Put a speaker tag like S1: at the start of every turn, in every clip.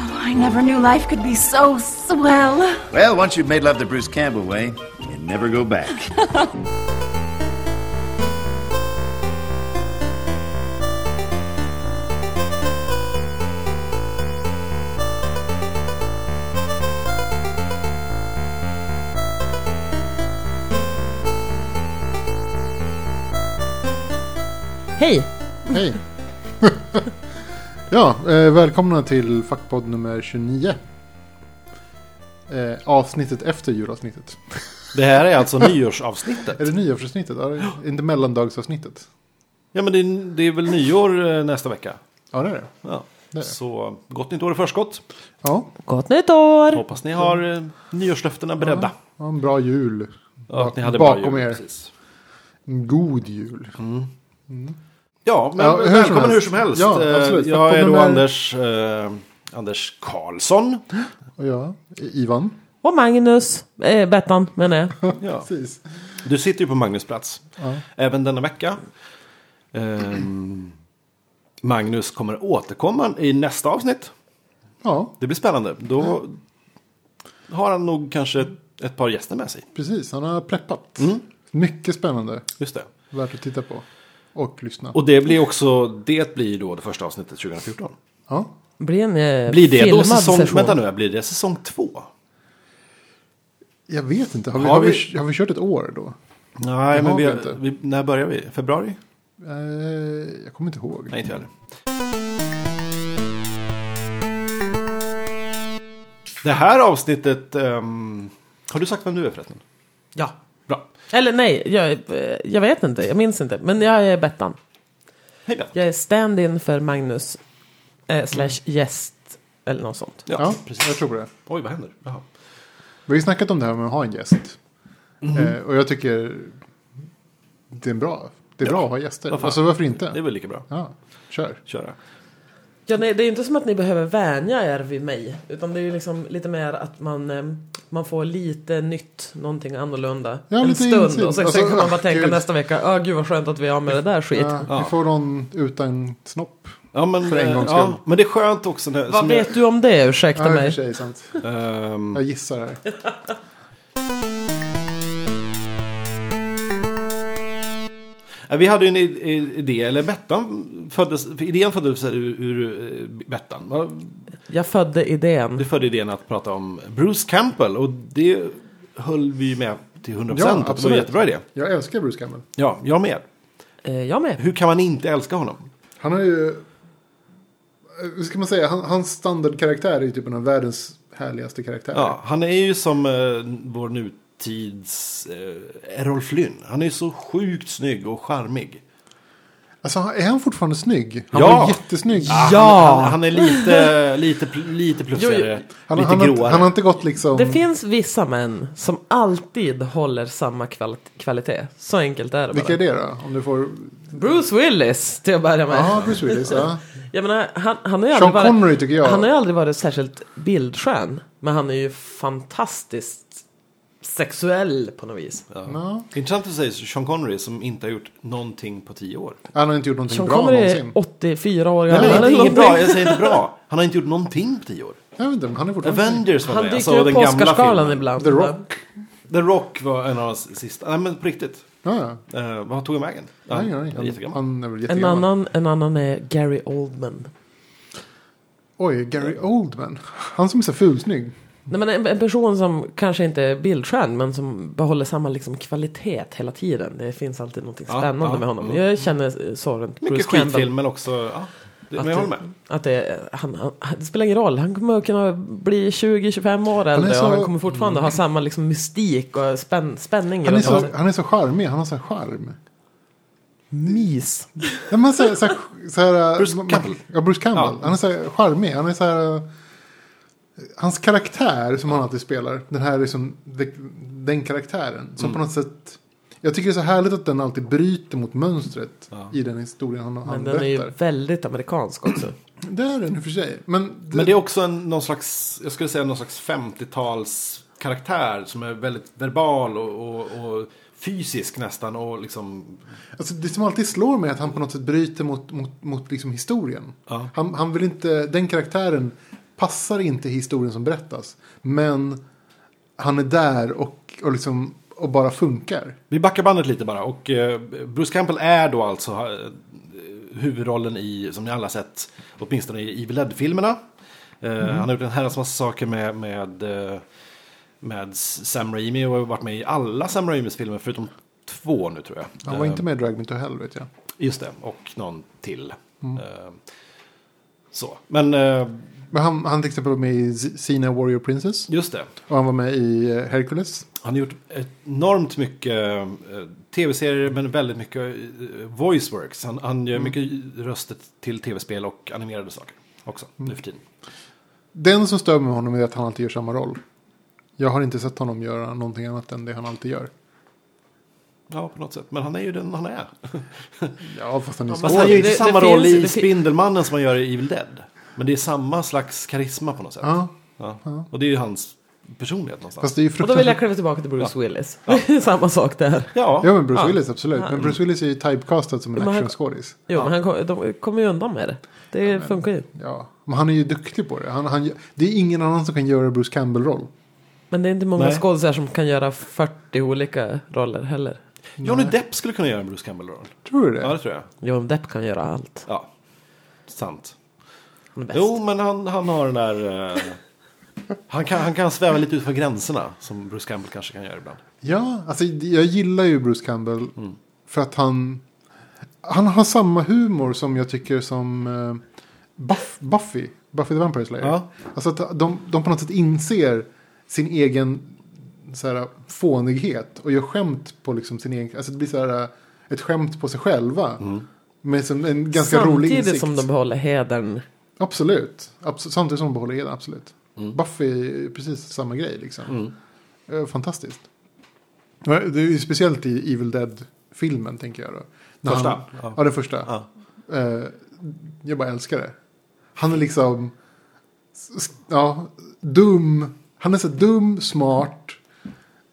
S1: Oh, I never knew life could be so swell.
S2: Well, once you've made love the Bruce Campbell way, you never go back.
S3: Hej!
S4: Hej! ja, eh, välkomna till Fackpodd nummer 29. Eh, avsnittet efter julavsnittet.
S5: Det här är alltså nyårsavsnittet.
S4: Är det nyårsavsnittet? Ja, det är inte mellandagsavsnittet.
S5: Ja, men det är, det är väl nyår eh, nästa vecka.
S4: Ja, det är det.
S5: Ja.
S4: Det är det.
S5: Så gott nytt år i förskott.
S4: Ja,
S3: Gott nytt år!
S5: Hoppas ni har eh, nyårslöftena beredda.
S4: ja en bra jul.
S5: Ja, att ni hade
S4: Bakom
S5: bra jul,
S4: er.
S5: precis.
S4: En god jul.
S5: Ja, men
S4: Ja, hur som
S5: välkommen
S4: helst.
S5: hur som helst.
S4: Ja,
S5: Eh,
S4: absolut.
S5: Jag är då
S4: Välkommen.
S5: Anders, eh, Anders Karlsson.
S4: Och jag, I- Ivan.
S3: Och Magnus, eh, Bettan menar jag.
S5: Ja.
S4: Precis.
S5: Du sitter ju på Magnus plats.
S4: Ja.
S5: Även denna vecka. Ehm, Magnus kommer återkomma i nästa avsnitt.
S4: ja,
S5: Det blir spännande. Då har han nog kanske ett, ett par gäster med sig.
S4: precis. Han har preppat. Mycket spännande.
S5: Just det.
S4: Värt att titta på. Och lyssna.
S5: Och det blir också, det blir då det första avsnittet 2014.
S4: Ja.
S3: Blir en eh,
S5: Blir det då
S3: filmad
S5: säsong,
S3: session.
S5: vänta nu, blir det säsong två?
S4: Jag vet inte. Har vi,
S5: Har
S4: har vi...
S5: vi-
S4: har vi kört ett år då?
S5: Nej, men
S4: har
S5: vi,
S4: vi inte.
S5: vi, när börjar vi? Februari?
S4: Eh, jag kommer inte ihåg.
S5: Nej, inte heller. Det här avsnittet, ehm, har du sagt vem du är förresten?
S3: Ja.
S5: Bra.
S3: Eller nej, jag, eh, jag vet inte, jag minns inte. Men jag är Bettan.
S5: Hej Beth.
S3: Jag är stand-in för Magnus. Eh, slash gäst. Eller något sånt.
S5: Ja,
S4: Ja,
S5: precis.
S4: jag tror det.
S5: Oj, vad händer? Jaha.
S4: Vi har ju snackat om det här med att ha en gäst.
S5: Mm.
S4: Eh, och jag tycker det är bra. Det är bra att ha gäster.
S5: Vad fan.
S4: alltså varför inte?
S5: Det är väl lika bra.
S4: Ja, kör.
S5: Köra.
S3: Ja, nej, det är ju inte som att ni behöver vänja er vid mig. Utan det är ju liksom lite mer att man, eh, man får lite nytt, någonting annorlunda.
S4: Ja,
S3: en
S4: lite
S3: stund.
S4: insyn.
S3: Och sen,
S4: Alltså,
S3: sen kan man bara
S4: åh,
S3: tänka
S4: gud.
S3: nästa vecka, ja gud vad skönt att vi har med det där skit.
S4: Ja,
S5: Ja.
S4: Vi får någon utan snopp.
S5: Ja, men,
S4: För en
S5: eh,
S4: gångs
S5: ja,
S4: skull.
S5: men det är skönt också. När,
S3: Vad
S5: som jag-
S3: vet du om det? Ursäkta
S4: Ja, i och för sig,
S3: mig.
S4: sant.
S5: Ehm,
S4: Jag gissar här.
S5: Ja, Vi hade ju en i- i- idé, eller Bettan föddes, för idén föddes ur, ur eh, Bettan. Va?
S3: Jag födde idén.
S5: Du födde idén att prata om Bruce Campbell och det höll vi med till 100%.
S4: Ja,
S5: att det var
S4: absolut.
S5: en jättebra idé.
S4: Jag älskar Bruce Campbell.
S5: Ja, jag med.
S3: Eh, jag med.
S5: Hur kan man inte älska honom?
S4: Han har ju... eh, Hur ska man säga? Han, hans standardkaraktär är ju typ en av världens härligaste karaktärer.
S5: Ja, han är ju som eh, vår nutids eh, Errol Flynn. Han är ju så sjukt snygg och charmig.
S4: Alltså, han- är han fortfarande snygg? Han
S5: Ja.
S4: var jättesnygg.
S5: Han, han, han är lite, lite, pl- lite plufsigare,
S4: Han,
S5: lite
S4: han, har inte-
S5: gråare.
S4: han har inte gått liksom...
S3: Det finns vissa män som alltid håller samma kvalit- kvalitet. Så enkelt är det bara.
S4: Vilka är det då? Om du får...
S3: Bruce Willis till att börja med.
S4: Ja, Bruce Willis. Ja.
S3: Jag menar, han, han har ju
S4: Sean
S3: aldrig varit,
S4: Connery tycker jag.
S3: Han har ju aldrig varit särskilt bildskön. Men han är ju fantastiskt sexuell på något vis.
S4: Ja.
S5: Intressant att säga Sean Connery som inte har gjort någonting på tio år.
S4: Han har inte gjort någonting
S3: Sean
S4: bra
S3: Connery är
S4: någonsin.
S3: 84 år
S5: Nej,
S3: gammal.
S5: men
S3: eller
S5: inte, inget
S3: någonting.
S5: bra, jag säger inte bra. Han har inte gjort någonting på tio år.
S4: Jag vet inte, men han är fortfarande
S5: Avengers var
S3: Han
S5: med,
S3: dyker
S5: alltså den
S3: upp på
S5: gamla
S3: Oscarsgalan
S5: filmen.
S3: ibland.
S4: The Rock.
S5: The Rock var en av hans sista. Nej men på riktigt.
S4: Ja, ja.
S5: Eh, vad tog han vägen?
S4: Jag har ingen aning.
S5: han är jättegammal.
S4: Han är väl
S3: En
S4: jättegammal.
S3: annan, en annan är Gary Oldman.
S4: Oj, Gary Oldman. Han som är så fulsnygg.
S3: Nej, men en, en person som kanske inte är bildskön men som behåller samma liksom, kvalitet hela tiden. Det finns alltid något
S5: Ja,
S3: spännande
S5: ja,
S3: med honom.
S5: mm.
S3: Jag känner eh, så runt
S5: Mycket
S3: Bruce Campbell.
S5: skitfilm men också, ja. Det,
S3: Att
S5: men jag håller
S3: det-
S5: med.
S3: Att det, är- han, han, det spelar ingen roll, han kommer att kunna bli 20-25 år äldre
S4: så-
S3: och han kommer fortfarande
S5: Mm.
S3: ha samma liksom, mystik och spänn, spänning.
S4: Han är,
S3: runt
S4: så,
S3: honom.
S4: han är så charmig. Han har så här charm.
S3: Mys.
S4: Ja, men så här, så här, så här,
S5: Bruce
S4: man-
S5: Campbell.
S4: Ja, Bruce Campbell.
S5: Ja.
S4: Han är så här charmig. Han är så här... eh, Hans karaktär som han alltid spelar. Den här liksom, de- den karaktären.
S5: Mm.
S4: Som på något sätt... Jag tycker det är så härligt att den alltid bryter mot mönstret
S5: Ja.
S4: i den historien han, han
S3: Men den är ju
S4: berättar.
S3: väldigt amerikansk också.
S4: Det är den i och för sig. Men det,
S5: Men det är också en, någon slags, jag skulle säga någon slags 50-tals karaktär som är väldigt verbal och, och, och fysisk nästan och liksom
S4: Alltså det som alltid slår mig är att han på något sätt bryter mot, mot, mot liksom historien.
S5: Ja.
S4: Han, han vill inte, den karaktären passar inte historien som berättas. Men han är där och, och, liksom, och bara funkar.
S5: Vi backar bandet lite bara. Och eh, Bruce Campbell är då alltså eh, huvudrollen i, som ni alla sett, åtminstone i Evil Dead-filmerna. Eh,
S4: Mhm.
S5: Han har gjort en herrans massa saker med, med, eh, med Sam Raimi och har varit med i alla Sam Raimis filmer förutom två nu tror jag.
S4: Han var
S5: Eh,
S4: inte med i Drag Me To Hell vet jag.
S5: Just det, och någon till.
S4: Mm.
S5: Eh, Så, men eh,
S4: Men han, han till exempel var med i Sina Warrior Princess.
S5: just det.
S4: Och han var med i eh, Hercules.
S5: Han har gjort enormt mycket eh, tv-serier men väldigt mycket eh, voice works. Han, han gör mycket röster till tv-spel och animerade saker också nu för tiden.
S4: Den som stör mig med honom är att han alltid gör samma roll. Jag har inte sett honom göra någonting annat än det han alltid gör.
S5: Ja, på något sätt. Men han är ju den han är.
S4: Ja, fast han är
S5: Fast han
S4: skådis.
S5: gör ju inte
S3: det-
S5: samma
S3: det
S5: roll
S3: finns-
S5: i
S3: det fin-
S5: Spindelmannen som han gör i Evil Dead. Men det är samma slags karisma på något sätt.
S4: Ja,
S5: Ja. Och det är ju hans personlighet någonstans.
S4: fast det är ju
S3: Och då vill jag
S4: fruktansvärt.
S3: kliva tillbaka till Bruce Willis. Samma sak där.
S5: Ja,
S4: Ja, men Bruce
S5: Ja.
S4: Willis, absolut. Men Bruce Willis är ju typecastad som en
S3: Men han-
S4: actionskådis.
S3: Jo, men han kom, de kommer ju undan med det. Det funkar ju.
S4: Ja, men han är ju duktig på det. Han, han, det är ingen annan som kan göra Bruce Campbell-roll.
S3: Men det är inte många
S5: Nej.
S3: skådespelare som kan göra 40 olika roller heller.
S5: Johnny Depp skulle kunna göra en Bruce Campbell-roll.
S4: Tror du det?
S5: Ja, det tror jag.
S3: Johnny Depp kan göra allt.
S5: Ja, sant.
S3: Han är bäst.
S5: Jo, men han, han har den där... eh, han, kan, han kan sväva lite utanför gränserna, som Bruce Campbell kanske kan göra ibland.
S4: Ja, alltså jag gillar ju Bruce Campbell. För att han, han har samma humor som jag tycker som eh, Buff, Buffy. Buffy the Vampire Slayer.
S5: Ja.
S4: Alltså att de, de på något sätt inser sin egen så här, fånighet. Och gör skämt på liksom sin egen... Alltså det blir så här, eh, ett skämt på sig själva. Med som en ganska rolig
S3: Samtidigt
S4: insikt.
S3: som de behåller hedern.
S4: Absolut. Abs- samtidigt som de behåller eden, absolut.
S5: Mm.
S4: Buffy är precis samma grej liksom. Eh, Fantastiskt. Och Det är ju speciellt i Evil Dead-filmen tänker jag då. När
S5: Första,
S4: Han, ja.
S5: ja.
S4: den första. Eh, jag bara älskar det. Han är liksom... s- s- Ja, dum. Han är så dum, smart,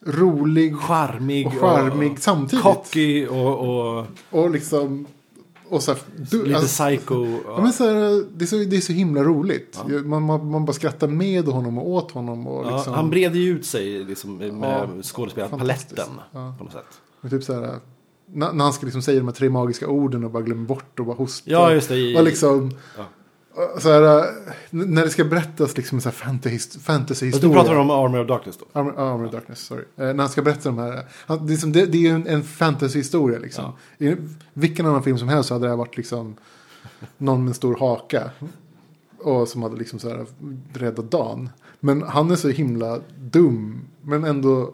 S4: rolig
S5: Charmig
S4: och charmig samtidigt.
S5: Cocky och, och
S4: Och liksom... Och så här, du,
S5: lite
S4: alltså-
S5: psycho.
S4: Ja. men så här, det, är så, det är så himla roligt. Man, man, man bara skrattar med honom och åt honom. Och
S5: Ja,
S4: liksom,
S5: han breder ju ut sig liksom, med
S4: Ja,
S5: skådespelarpaletten
S4: fantastiskt. Ja.
S5: på något sätt.
S4: och typ så här, när, när han ska liksom säga de här tre magiska orden och bara glömmer bort och bara hosta.
S5: Ja, just det. I,
S4: Och liksom,
S5: Ja.
S4: och så här, n- när det ska berättas liksom så här fantasy,
S5: och
S4: fantasyhistoria.
S5: du pratar om Army of Darkness då?
S4: Armor, Armor of Darkness, sorry. Eh, när han ska berätta de här. Han, det, är som, det, det är ju en, en fantasyhistoria liksom. I vilken annan film som helst så hade det här varit liksom någon med en stor haka. Och som hade liksom så här räddat dagen. Men han är så himla dum. Men ändå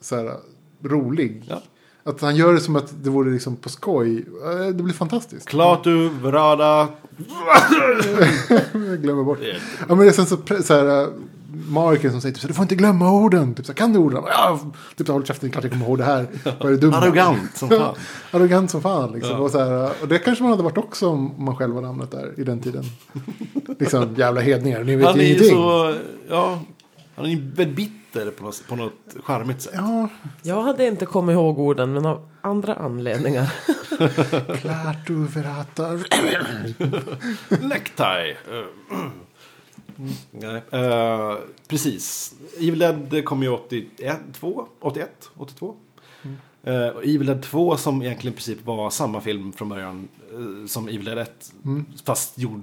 S4: så här rolig.
S5: Ja.
S4: Att han gör det som att det vore liksom på skoj. Eh, Det blir fantastiskt.
S5: Klatu, Vrada.
S4: Jag glömmer bort.
S5: Det-
S4: Ja, men det är sen så, pre- så här, äh, Marken som säger typ, så här, du får inte glömma orden. Typ, så här, kan du orden? Ja, typ, så här, håll käften, klart jag kommer ihåg det här. Vad är du dum?
S5: Arrogant som fan.
S4: Arrogant som fan. Liksom.
S5: Ja.
S4: Och, så här, äh, och det kanske man hade varit också om man själv hade hamnat där i den tiden. liksom jävla hedningar, ni vet
S5: Han
S4: ju
S5: är ju
S4: ingenting.
S5: så... Ja, han är ju väldigt bitter på något, på något charmigt sätt.
S4: Ja,
S3: Jag hade inte kommit ihåg orden, men av andra anledningar.
S4: klart du förrättar.
S5: Necktie. Eh, Nej, eh, precis. Evil Dead kom ju 81, 2, 81, 82.
S4: Mm.
S5: Eh, och Evil Dead 2 som egentligen i princip var samma film från början eh, som Evil Dead 1.
S4: Mm.
S5: Fast gjord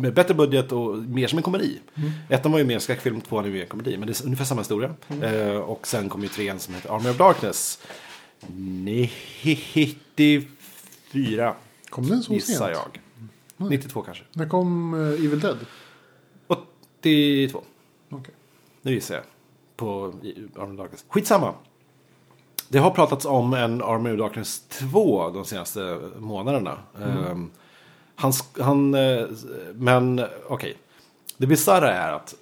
S5: med bättre budget och mer som en komedi.
S4: Mm.
S5: Ettan var ju mer skräckfilm, tvåan är ju mer komedi. Men det är ungefär samma historia.
S4: Mm.
S5: Eh, och sen kom ju trean som heter Army of Darkness. 94
S4: Kom den så
S5: gissar
S4: sent? Mm.
S5: jag. 92 kanske.
S4: När kom äh, Evil Dead?
S5: 82.
S4: Okej.
S5: Nu gissar jag. På i- Army of Darkness. Skitsamma. Det har pratats om en Army of Darkness 2 de senaste månaderna. Ehm, han, sk- han, eh, men okej. Det bisarra är att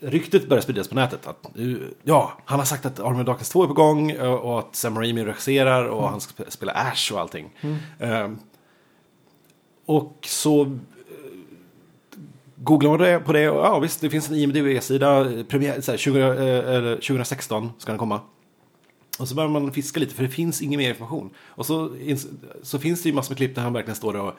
S5: ryktet börjar spridas på nätet. Att, nu- ja, han har sagt att Army of Darkness 2 är på gång eh, och att Sam Raimi regisserar och han ska sp- spela Ash och allting. Ehm, och så googlar man det- på det och ja visst, det finns en IMDB-sida, premiär, så här, 20, eh, eller 2016 ska den komma. Och så börjar man fiska lite för det finns ingen mer information. Och så, ins- så finns det ju massor med klipp där han verkligen står där och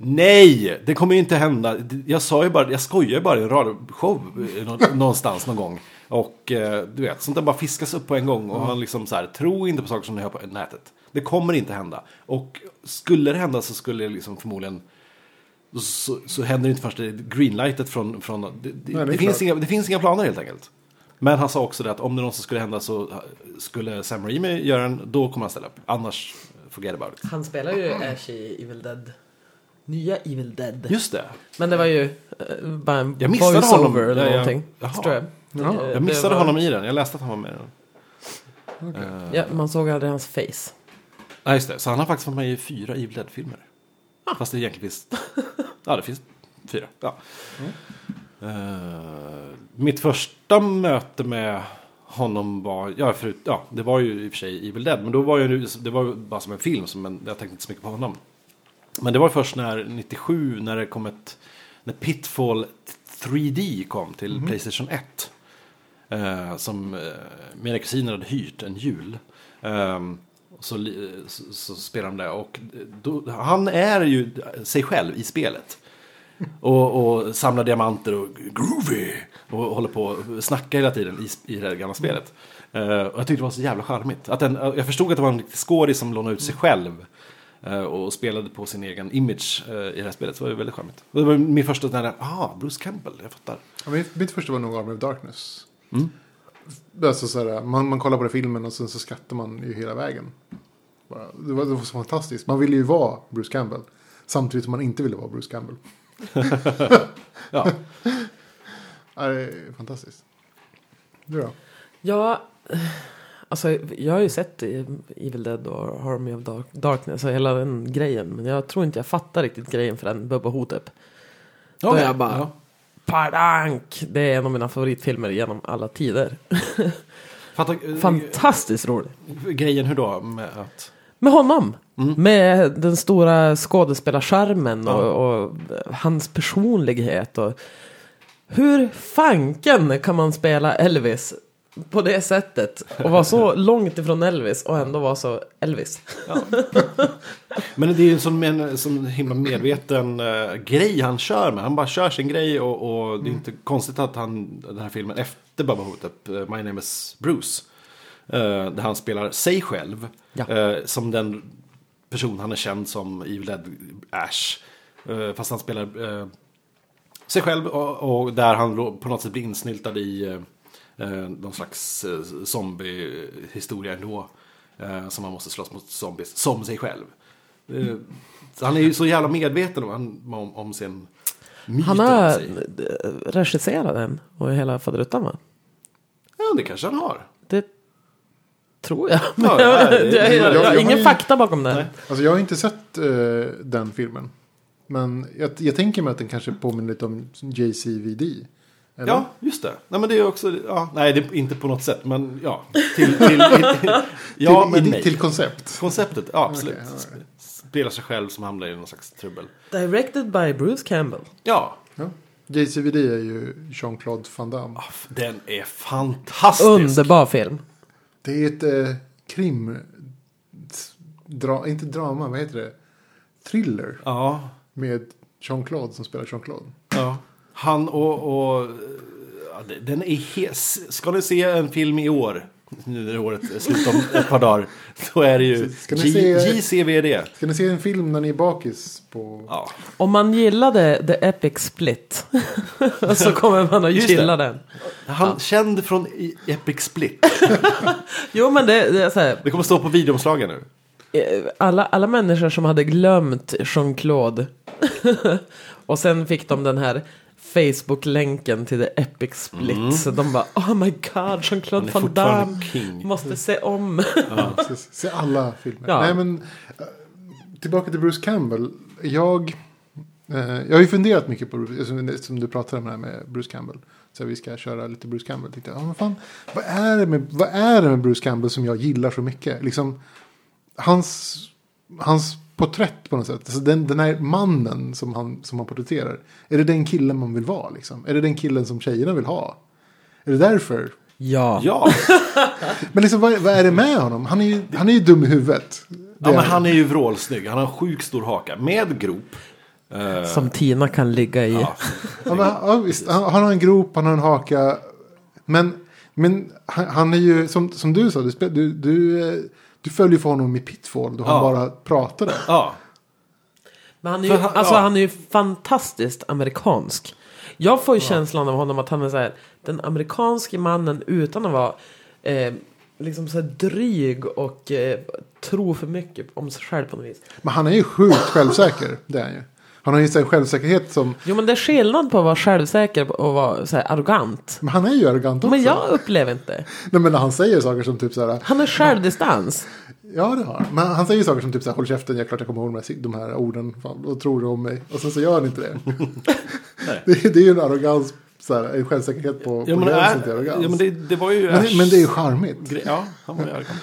S5: Nej, det kommer ju inte hända. Jag sa ju bara, jag skojar ju bara i en radioshow eh, nå- någonstans någon gång. Och eh, du vet, sånt där bara fiskas upp på en gång. Och han liksom så här, tro inte på saker som ni hör på nätet. Det kommer inte hända. Och skulle det hända så skulle det liksom förmodligen så, så händer det inte först det greenlightet från... från det, det,
S4: Nej, det är
S5: det, finns
S4: klart.
S5: inga, det finns inga planer helt enkelt. Men han sa också det att om det någonsin skulle hända så eh, skulle Sam Raimi göra den, då kommer han ställa upp. Annars, forget about it.
S3: Han spelar ju Ash i Evil Dead. Nya Evil Dead.
S5: Just det.
S3: Men det var ju eh, bara en
S5: Jag missade
S3: voiceover
S5: honom.
S3: eller
S5: Ja, ja.
S3: någonting.
S5: Jaha.
S3: Tror jag.
S4: Jaha.
S3: Eh, det
S5: Jag missade
S3: var-
S5: honom i den. Jag läste att han var med i den.
S3: Ja, man såg aldrig hans face.
S5: Ja, just det. Så han har faktiskt varit med i fyra Evil Dead-filmer.
S3: Ah.
S5: Fast det egentligen finns... ja, det finns fyra. Ja. Eh, mitt första möte med honom var... Ja, förut, ja, det var ju i och för sig Evil Dead. Men då var ju, det var ju bara som en film, som en, jag tänkte inte så mycket på honom. Men det var först när 97, när det kom ett... När Pitfall 3D kom till
S3: Mhm.
S5: Playstation 1. Eh, som eh, mina kusiner hade hyrt en jul. Ehm, så, li- så, så spelade de det. Och då, han är ju sig själv i spelet. Och, och samlar diamanter och groovy. Och håller på och snackar hela tiden i, sp- i det här gamla spelet. Eh, och jag tyckte det var så jävla charmigt. Att den, jag förstod att det var en riktig skådis som lånade ut sig själv. eh, och spelade på sin egen image eh, i det här spelet. Så det var ju väldigt charmigt. Och det var min första sån här, ah, Bruce Campbell, jag fattar.
S4: Ja, mitt, mitt första var nog Army of Darkness. Alltså, så här, man, man kollar på den filmen och sen så skrattar man ju hela vägen. Bara, Det var, det var så fantastiskt. Man ville ju vara Bruce Campbell. Samtidigt som man inte ville vara Bruce Campbell.
S5: Ja.
S4: Ja, Det är fantastiskt. Du då?
S3: Ja, alltså jag har ju sett eh, Evil Dead och Army of Dark- Darkness och hela den grejen. Men jag tror inte jag fattar riktigt grejen förrän Bubba Hotep. Då är jag bara,
S5: Ja.
S3: Padank! Det är en av mina favoritfilmer genom alla tider.
S5: Fattar,
S3: Fantastiskt rolig.
S5: Grejen hur då? Med att...
S3: Med honom!
S5: Mm.
S3: Med den stora skådespelarskärmen och, och eh, hans personlighet. Och hur fanken kan man spela Elvis på det sättet? Och vara så långt ifrån Elvis och ändå vara så Elvis.
S5: Men det är ju en sån, en, sån himla medveten eh, grej han kör med. Han bara kör sin grej och, och det är inte konstigt att han, den här filmen efter Baba Hotep, eh, My Name Is Bruce, eh, där han spelar sig själv
S3: Ja.
S5: eh, som den person han är känd som, Evil Dead Ash. Eh, fast han spelar eh, sig själv och, och där han då på något sätt blir insnyltad i eh, eh, någon slags eh, zombiehistoria ändå. Eh, som man måste slåss mot zombies som sig själv. Eh, så han är ju så jävla medveten om, han- om, om sin myt.
S3: Han
S5: om
S3: har
S5: sig.
S3: eh, regisserat den och hela faderuttan va?
S5: Ja, det kanske han har.
S3: Det tror jag.
S5: Ja, det är-
S3: jag, jag, jag,
S4: jag har
S3: har
S4: ju-
S3: ingen fakta bakom det.
S5: Nej.
S4: Alltså jag har inte sett eh, den filmen. Men jag, jag tänker mig att den kanske påminner lite om JCVD. Eller?
S5: Ja, just det. Nej, men det är också, ja, nej, det är inte på något sätt, men ja. Till, till, ja,
S4: till,
S5: men
S4: till-
S5: nej.
S4: till koncept.
S5: Konceptet, ja absolut.
S4: Okej, ja,
S5: Sp- Spelar sig själv som hamnar i någon slags trubbel.
S3: Directed by Bruce Campbell.
S5: Ja,
S4: Ja. JCVD är ju Jean-Claude Van Damme.
S5: Ah, f- den är fantastisk.
S3: Underbar film.
S4: Det är ett eh, krim... Dra, inte drama, vad heter det? Thriller
S5: Ja,
S4: med Jean-Claude som spelar Jean-Claude.
S5: ja. Han och... och ja, det- den är hes. Ska ni se en film i år? Nu när året är slut om ett par dagar. Då är det ju
S4: Ska ni
S5: G-
S4: se-
S5: JCVD.
S4: Ska ni se en film när ni är bakis på...
S5: Ja.
S3: Om man gillade The Epic Split så kommer man att
S5: Just
S3: gilla
S5: det.
S3: den.
S5: Han känd från i- Epic Split.
S3: Jo men det, det är så här,
S5: Det kommer stå på videoomslagen nu.
S3: eh, alla, alla människor som hade glömt Jean-Claude och sen fick de den här Facebook-länken till The Epic Split så de bara oh my
S5: Mm.
S3: god
S5: Han
S3: Jean-Claude
S5: är
S3: Van Damme
S5: fortfarande king.
S3: måste se om.
S4: Se- Se alla filmer.
S3: Ja.
S4: Nej, men, eh, tillbaka till Bruce Campbell. Jag, eh, jag har ju funderat mycket på Bruce, som, som du pratade om det här med Bruce Campbell. Så här, vi ska köra lite Bruce Campbell. Tänkte, jag, ja, men fan, vad, är det med, vad är det med Bruce Campbell som jag gillar så mycket? Liksom, hans, hans porträtt på något sätt. Alltså den, den här mannen som han, som han porträtterar. Är det den killen man vill vara? Liksom? Är det den killen som tjejerna vill ha? Är det därför
S3: Ja.
S5: Ja,
S4: men liksom, vad, vad är det med honom? Han är ju, han är ju dum i huvudet. Det
S5: ja
S4: är
S5: men han är ju vrålsnygg. Han har en sjuk stor haka med grop. Eh,
S3: Som Tina kan ligga i.
S5: ja.
S4: Ja, men, ja, visst. Han, han har en grop, han har en haka. Men, men han, han är ju, som, som du sa, du, spel, du, du, eh, du följer för honom i Pitfall då han
S5: Ja.
S4: bara pratade.
S5: ja.
S3: Men han är ju,
S5: För han-
S3: alltså,
S5: ja.
S3: han är ju fantastiskt amerikansk. Jag får ju känslan av honom att han är så här, den amerikanske mannen utan att vara eh, liksom så här dryg och eh, tro för mycket om sig själv på något vis.
S4: Men han är ju sjukt självsäker, det är han ju. Han har ju en självsäkerhet som,
S3: Jo men det är skillnad på att vara självsäker och vara så här arrogant.
S4: men han är ju arrogant också.
S3: Men jag upplever inte.
S4: Nej, men när han säger saker som typ så här,
S3: Han är självdistans.
S4: ja det har han. Men han säger ju saker som typ så här, håll käften, jag är klart jag kommer ihåg de här, de här orden, fan, vad tror du om mig? Och sen så gör han inte det. det, är- det är ju en arrogans, så här, en självsäkerhet på,
S5: Ja,
S4: på
S5: men,
S4: gränsen
S5: äh,
S4: till arrogans.
S5: ja, men, det, det var ju
S4: men,
S5: Ash-
S4: det, men det är ju charmigt.
S5: gre- Ja, han var ju arrogant.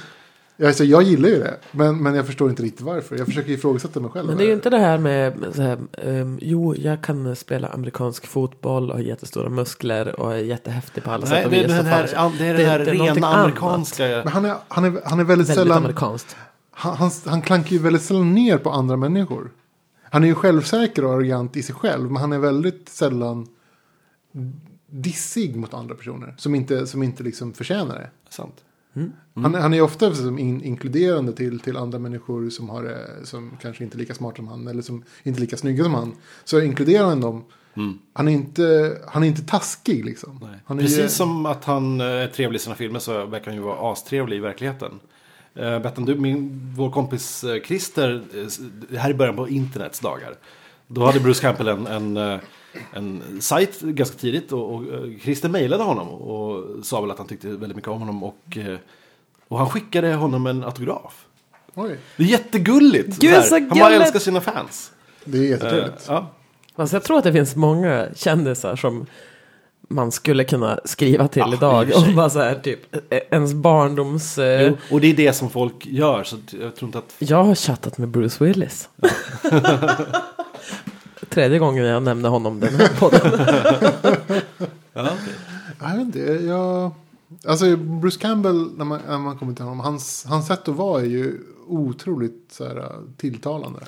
S4: Alltså, jag gillar ju det, men, men jag förstår inte riktigt varför. Jag försöker ifrågasätta mig själv.
S3: Men det är ju inte det här med, med så här, ehm, jo jag kan spela amerikansk fotboll och har jättestora muskler och är jättehäftig på alla sätt
S5: Nej,
S3: och
S5: det är
S3: vis.
S5: den
S3: och
S5: här, ja,
S3: fan-
S5: det är den
S3: Det är
S5: här
S3: inte någonting
S5: rena
S3: annat.
S5: amerikanska...
S4: Men han är, han är, han är väldigt,
S3: Väldigt
S4: sällan...
S3: amerikanskt.
S4: Han, han, han klankar ju väldigt sällan ner på andra människor. Han är ju självsäker och arrogant i sig själv, men han är väldigt sällan dissig mot andra personer som inte, som inte liksom förtjänar det. Mm.
S5: Sant.
S4: Han, han är ju ofta liksom in, inkluderande till, till andra människor som, har, eh, som kanske inte är lika smarta som han eller som inte är lika snygga som han. Så inkluderar han dem.
S5: Mm.
S4: Han, är inte, han är inte taskig liksom. Han är
S5: Precis
S4: ju-
S5: som att han eh, är trevlig i sina filmer så verkar han ju vara astrevlig i verkligheten. Uh, Bettan, du, min, vår kompis eh, Christer, eh, s- det här i början på internets dagar. Då hade Bruce Campbell en, en, eh, en sajt ganska tidigt och, och eh, Christer mejlade honom och sa väl att han tyckte väldigt mycket om honom och, eh, och han skickade honom en autograf.
S4: Oj,
S5: Det är jättegulligt!
S3: Gud,
S5: så här.
S3: så
S5: han bara
S3: gulligt.
S5: älskar sina fans.
S4: det är
S5: Eh,
S4: jättetrevligt.
S5: ja.
S3: Alltså jag tror att det finns många kändisar som man skulle kunna skriva till
S5: Ja, i
S3: idag.
S5: och för sig.
S3: Och bara så här, typ eh, ens barndoms... eh,
S5: Jo, och det är det som folk gör, så t- jag tror inte att...
S3: Jag har chattat med Bruce Willis. Tredje gången jag nämnde honom den här podden.
S4: Jag vet inte, jag... Alltså Bruce Campbell, när man, när man kommer till honom, hans, hans sätt att vara är ju otroligt så här, tilltalande.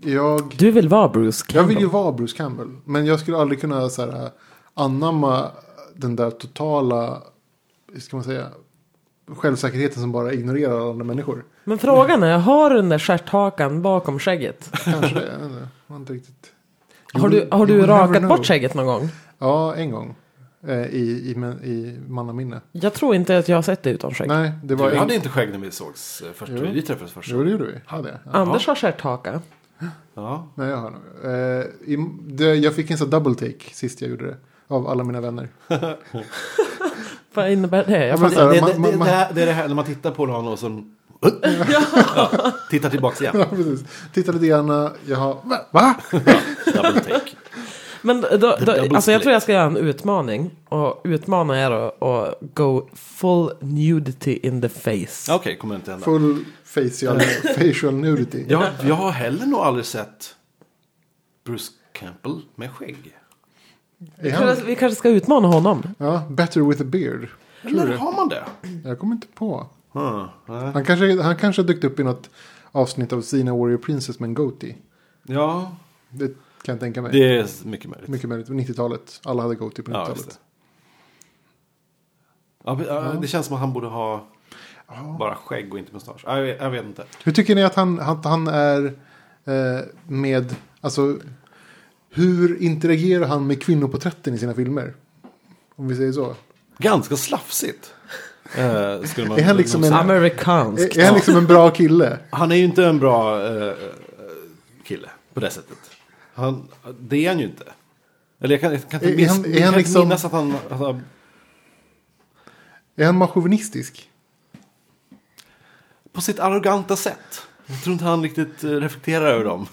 S4: Jag,
S3: Du vill vara Bruce
S4: jag
S3: Campbell?
S4: vill ju vara Bruce Campbell, men jag skulle aldrig kunna så här, anamma den där totala, hur ska man säga, självsäkerheten som bara ignorerar alla andra människor.
S3: Men frågan är, har du den där stjärthakan bakom skägget?
S4: Kanske det, jag vet inte, jag har inte riktigt.
S3: Har du, har
S4: You
S3: du
S4: will never
S3: rakat
S4: know.
S3: bort skägget någon gång?
S4: Ja, en gång. Eh, I, i, men- i mannaminne.
S3: Jag tror inte att jag har sett det utan skägg.
S4: Nej, det var
S5: Du hade
S4: en...
S5: inte skägg när vi sågs eh, först,
S4: Jo.
S5: vi träffades först.
S4: Jo, det gjorde vi. Hade jag. Ja.
S3: Anders har stjärthaka.
S5: Ja.
S4: Nej, jag har nog. Eh, i, det, jag fick en sån double take sist jag gjorde det. Av alla mina vänner.
S3: Vad innebär det? Jag
S4: men
S3: fattar-
S4: så här,
S5: Alltså, det,
S4: man-
S5: det, det,
S4: man-
S5: det, här, det är det här när man tittar på någon och sen tittar tillbaka igen.
S4: Ja, precis. Titta lite grann. Jag har... Va? Va?
S5: Double take.
S3: Men då, då,
S5: double
S3: alltså jag
S5: split.
S3: tror jag ska göra en utmaning. Och utmana er att att go full nudity in the face.
S5: Ja, Okej, kommer inte hända.
S4: Full facial, facial nudity.
S5: Jag, jag har heller nog aldrig sett Bruce Campbell med skägg.
S4: Är
S3: Jag tror
S4: han,
S3: att Vi kanske ska utmana honom.
S4: ja, better with a beard.
S5: Eller har man det?
S4: Jag kommer inte på.
S5: Hmm, nej.
S4: Han kanske, han kanske dykt upp i något avsnitt av Sina Warrior Princess med en goatee.
S5: Ja,
S4: Det kan jag tänka mig.
S5: det är mycket möjligt.
S4: Mycket möjligt. 90-talet. Alla hade goatee på
S5: ja, just
S4: 90-talet.
S5: det. Ja, men, ja, det känns som att han borde ha bara skägg och inte mustasch. Ja, Jag, vet- jag vet inte.
S4: Hur tycker ni att han, att han är eh, med, alltså hur interagerar han med kvinnoporträtten i sina filmer? Om vi säger så.
S5: Ganska slafsigt. Eh, skulle man
S4: Är han liksom
S5: nog
S4: en-
S5: säga. Eh,
S3: Amerikansk.
S4: Är, är han liksom en bra kille?
S5: Han är ju inte en bra eh, kille på det sättet. Han, det är han ju inte. Eller jag kan, jag kan inte,
S4: Är
S5: minns,
S4: han- är
S5: jag
S4: han
S5: kan
S4: liksom-
S5: inte minnas att han... Att han
S4: Är han machovinistisk?
S5: på sitt arroganta sätt. Jag tror inte han riktigt eh, reflekterar över dem.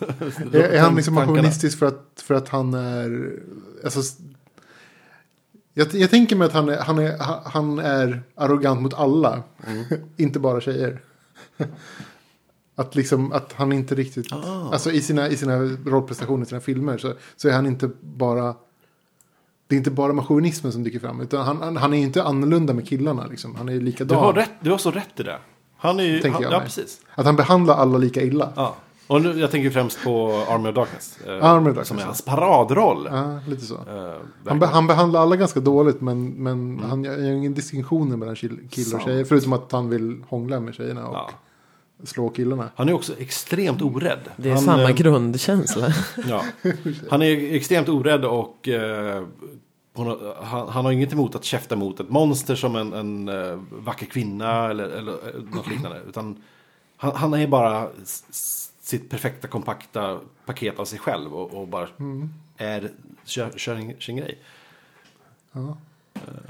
S4: Är, är han liksom
S5: Tankarna.
S4: machovinistisk för att, för att han är... Alltså, s- jag, jag tänker mig att han är, han är, ha- han är arrogant mot alla.
S5: Mm.
S4: inte bara tjejer. att, liksom, att han inte riktigt...
S5: Ah.
S4: Alltså i sina, i sina rollprestationer, i sina filmer så, så är han inte bara... Det är inte bara machovinismen som dyker fram. Utan han, han, han är inte annorlunda med killarna. Liksom. Han är likadan.
S5: Du har, rätt, du har så rätt i det. Han är ju...
S4: Tänker
S5: Han,
S4: jag
S5: ja,
S4: mig.
S5: precis.
S4: Att han behandlar alla lika illa.
S5: Ja. Och nu, jag tänker främst på Army of Darkness. eh,
S4: Army of Darkness,
S5: som är
S4: ja.
S5: hans paradroll.
S4: Ja, lite så.
S5: Eh,
S4: Han, be, han behandlar alla ganska dåligt men, men han gör gör ingen distinktioner mellan kill- killar och
S5: Mm. Sant.
S4: tjejer. Förutom att han vill hångla med tjejerna och
S5: Ja.
S4: slå killarna.
S5: Han är också extremt orädd.
S3: Det är
S5: han,
S3: samma
S5: eh,
S3: grundkänsla.
S5: ja. Han är extremt orädd och eh, på nå- han, han har inget emot att käfta mot ett monster som en, en eh, vacker kvinna eller, eller eh, något liknande. Utan han, han är bara s- s- sitt perfekta kompakta paket av sig själv och, och bara
S4: Mm.
S5: är, kör, kör en- sin grej.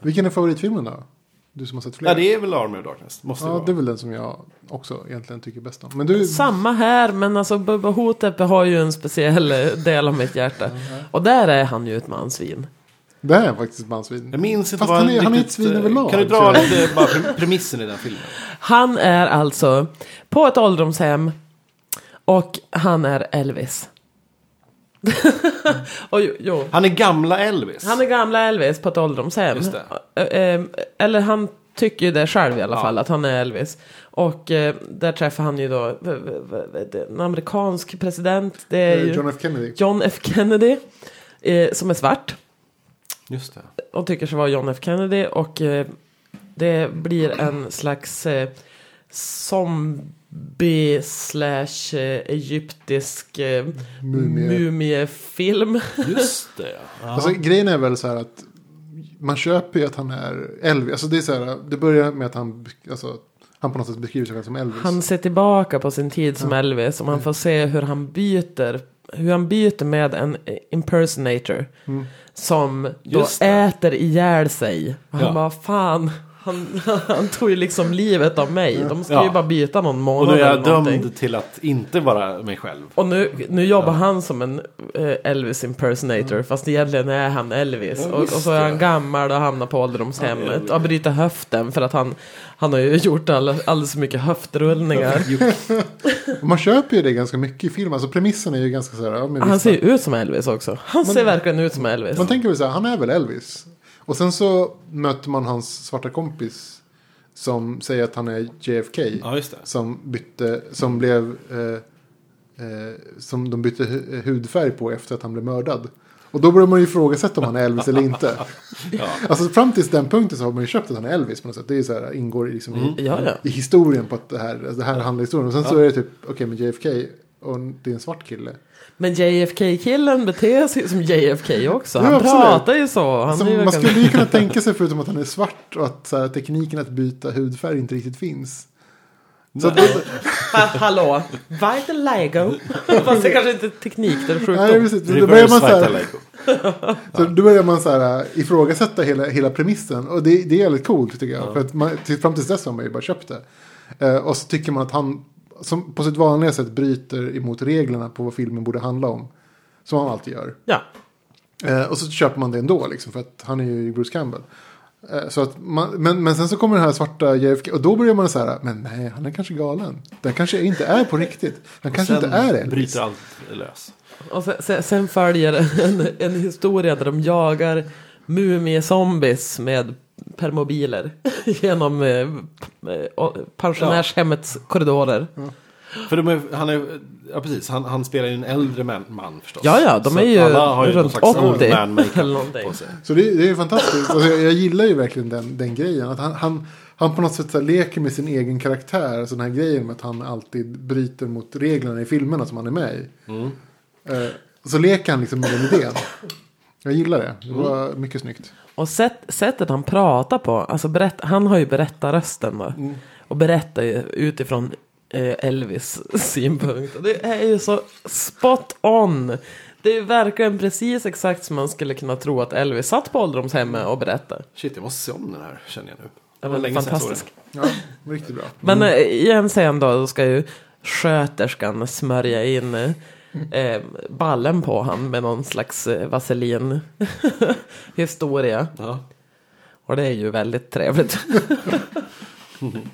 S4: Vilken är favoritfilmen då? Du som har sett flera.
S5: Ja, det är väl Army of Darkness. Måste
S4: Ja,
S5: vara.
S4: det är väl den som jag också egentligen tycker bäst om. Men du,
S3: Samma här, men alltså Bubba Hotep har ju en speciell eh, del av mitt hjärta.
S5: Uh-huh.
S3: Och där är han ju ett mansvin.
S4: det här är faktiskt mansvin.
S5: Jag minns inte
S4: Fast
S5: vad
S4: han är, han är ett
S5: riktigt,
S4: svin
S5: eh,
S4: överlag.
S5: Kan du
S4: tror
S5: dra
S4: jag.
S5: lite bara pre- premissen i den filmen?
S3: Han är alltså på ett ålderdomshem och han är Elvis. och jo, jo.
S5: Han är gamla Elvis.
S3: Han är gamla Elvis på ett ålderdomshem.
S5: Just
S3: Eh, eh, Eller han tycker ju det själv i alla
S5: Ja.
S3: fall, att han är Elvis. Och eh, där träffar han ju då v- v- v- det- en amerikansk president. Det är
S4: Eh,
S3: ju
S4: John F Kennedy.
S3: John F Kennedy, eh, som är svart.
S5: Just det.
S3: och tycker sig vara John F Kennedy och eh, det blir en slags eh, zombie slash eh, egyptisk eh,
S4: Mumie.
S3: mumiefilm.
S5: Just det. Ja.
S4: Alltså, grejen är väl så här att man köper ju att han är Elvis. Alltså, det, är så här, det börjar med att han, alltså, han på något sätt beskriver sig själv som Elvis.
S3: Han ser tillbaka på sin tid som Elvis och man får se hur han byter hur han byter med en eh, impersonator som då
S5: Mm. Just det.
S3: äter ihjäl sig. Och han
S5: Ja.
S3: bara fan, han, han tog ju liksom livet av mig. De ska ju
S5: Ja.
S3: bara byta någon
S5: Och
S3: månad
S5: nu är jag
S3: eller någonting.
S5: dömd till att inte vara mig själv.
S3: Och nu, nu jobbar han som en eh, Elvis impersonator
S5: Mm.
S3: fast egentligen är han Elvis. och, och så är han gammal och hamnar på ålderdomshemmet och bryter höften för att han, han har ju gjort all, alldeles för mycket höftrullningar.
S4: Och Man köper ju det ganska mycket i film. Alltså premissen är ju ganska så här. ja, men
S3: Han
S4: visst,
S3: ser ju ut som Elvis också. Han ser verkligen ut som Elvis.
S4: Man tänker väl så här, han är väl Elvis. Och sen så möter man hans svarta kompis. Som säger att han är JFK.
S5: Ja, just det.
S4: Som bytte, som blev, eh, eh, som de bytte hu- hudfärg på efter att han blev mördad. Och då börjar man ju ifrågasätta om han är Elvis eller inte. Alltså fram tills den punkten så har man ju köpt att han är Elvis på något sätt. Det är ju så här, ingår liksom i,
S5: Mm.
S3: Ja, ja.
S4: i historien på att det här, det här handlar historien. Och sen så är det typ, okej men JFK, och det är en svart kille.
S3: Men JFK-killen beter sig som JFK också. Han
S4: Ja, absolut.
S3: pratar ju så. Han är ju
S4: Som man
S3: verkligen-
S4: skulle ju kunna tänka sig förutom att han är svart och att så här, tekniken att byta hudfärg inte riktigt finns. Så att,
S3: ha, hallå, white lego. Fast det kanske inte är teknik, det är
S4: nej,
S3: sjukdom.
S4: precis. Då börjar
S5: Reverse
S4: man så
S5: Vital
S4: här,
S5: Lego.
S4: så då börjar man så här, äh, ifrågasätta hela, hela premissen. Och det, det är väldigt coolt tycker jag. För att man, till, fram tills dess har man ju bara köpt det. Eh, och så tycker man att han som på sitt vanliga sätt bryter emot reglerna på vad filmen borde handla om. Som han alltid gör.
S3: Ja.
S4: Eh, och så köper man det ändå, liksom, för att han är ju Bruce Campbell. Eh, så att man, men, men sen så kommer den här svarta JFK, och då börjar man så här, men nej, han är kanske galen. Den kanske inte är på riktigt. Han kanske inte är
S5: Sen
S4: Elvis.
S5: bryter allt lös.
S3: Och sen, sen, sen följer en, en historia där de jagar mumiezombies med permobiler genom eh, p- eh, och- pensionärshemmets korridorer.
S5: För de är, han är, ja precis, han, han spelar ju en äldre man, man förstås.
S3: Ja, ja, de
S5: Så
S3: är ju
S5: att alla har ju
S3: runt
S5: någon slags
S3: 80
S5: old man
S3: eller
S5: makeup
S3: någonting.
S5: på sig.
S4: Så det, det är ju fantastiskt. Alltså, jag, jag gillar ju verkligen den, den grejen. Att han, han, han på något sätt så här, leker med sin egen karaktär. Alltså den här grejen med att han alltid bryter mot reglerna i filmerna som han är med i. Eh, så leker han liksom med den idén. Jag gillar det. Det var mycket snyggt.
S3: Och sätt, sättet han pratar på, alltså berätt, han har ju berättarrösten då.
S5: Mm.
S3: Och berättar ju utifrån eh, Elvis synpunkt. Och det är ju så spot on. Det är ju verkligen precis exakt som man skulle kunna tro att Elvis satt på ålderdomshemmet och berättade.
S5: Shit, jag måste se om den här känner jag nu.
S3: Den
S5: var
S3: är
S5: länge sedan Mm. jag såg
S3: fantastisk.
S5: den.
S4: Ja, riktigt bra.
S3: Men eh, i en scen då, då ska ju sköterskan smörja in eh, eh, ballen på han med någon slags eh, vaselin historia.
S5: Ja.
S3: Och det är ju väldigt trevligt.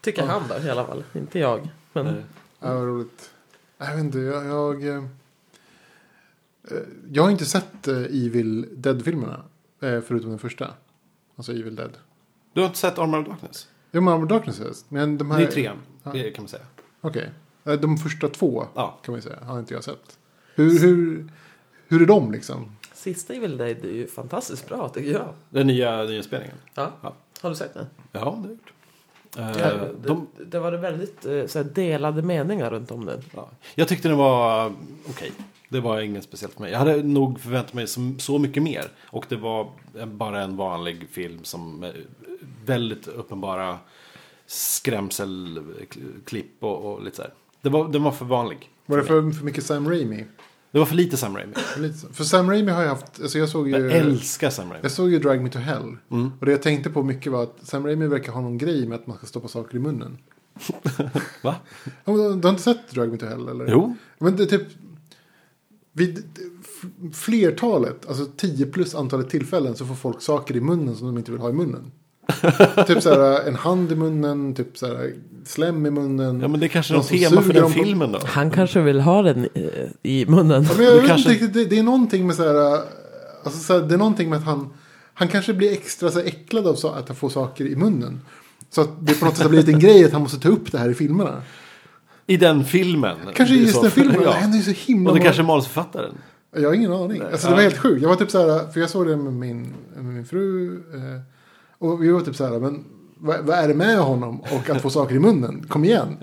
S3: Tycker han då i alla fall, inte jag. Men
S5: Nej.
S4: Ja, vad roligt. Jag vet inte, jag... Jag, eh, eh, jag har inte sett eh, Evil Dead-filmerna. eh, Förutom den första. Alltså Evil Dead.
S5: Du har inte sett Armor of Darkness?
S4: Jo, men Armored Darkness har jag sett. Men de
S5: Det
S4: här...
S5: är ju trean,
S4: Ja.
S5: det kan man säga.
S4: Okej. Eh, De första två
S5: Ja.
S4: kan man ju säga. Har inte jag sett. Hur, hur, hur är de liksom?
S3: Sista Evil Dead är ju fantastiskt bra tycker jag.
S5: Den nya nyinspelningen.
S3: Ja.
S5: Ja.
S3: Har du sett den?
S5: Ja, det har jag gjort. Eh,
S3: Ja, det,
S5: de,
S3: det var väldigt eh, så här, delade meningar runt om den.
S5: ja. Jag tyckte den var eh, okej. Det var inget speciellt för mig. Jag hade nog förväntat mig så, så mycket mer. Och det var eh, bara en vanlig film som eh, väldigt uppenbara skrämselklipp och, och lite så här. Det var, den var för vanlig.
S4: Var det för, för mycket Sam Raimi?
S5: Det var för lite Sam Raimi.
S4: Lite så. För Sam Raimi har jag haft, alltså jag såg ju...
S5: Jag älskar Mm. Sam Raimi.
S4: Jag såg ju Drag Me To Hell. Och det jag tänkte på mycket var att Sam Raimi verkar ha någon grej med att man ska stoppa saker i munnen.
S5: Va?
S4: Ja, men Du har inte sett Drag Me To Hell eller?
S5: Jo.
S4: Men det är typ... Vid flertalet, alltså 10 plus antalet tillfällen så får folk saker i munnen som de inte vill ha i munnen. typ så här en hand i munnen, typ så här slem i munnen.
S5: Ja men det är kanske är
S4: Någon
S5: något
S4: som
S5: tema för
S4: suger
S5: den
S4: dem på-
S5: filmen då.
S3: Han kanske vill ha den eh, i munnen.
S4: Ja, men jag
S5: Du
S4: vet
S5: kanske-
S4: inte riktigt, det, det är någonting med så här, alltså så här, det är någonting med att han, han kanske blir extra så här äcklad av så, att han får saker i munnen. Så att det på något sätt har blivit en grej att han måste ta upp det här i filmerna.
S5: I den filmen.
S4: Kanske
S5: Det är
S4: just
S5: så-
S4: den filmen,
S5: Ja.
S4: det händer ju så himla
S5: Och det
S4: många-
S5: kanske är manusförfattaren.
S4: Jag har ingen aning. Alltså det var helt sjukt. Jag var typ så här, för jag såg det med min, med min fru. Eh, och vi var typ så här, men vad, vad är det med honom och att få saker i munnen? Kom igen.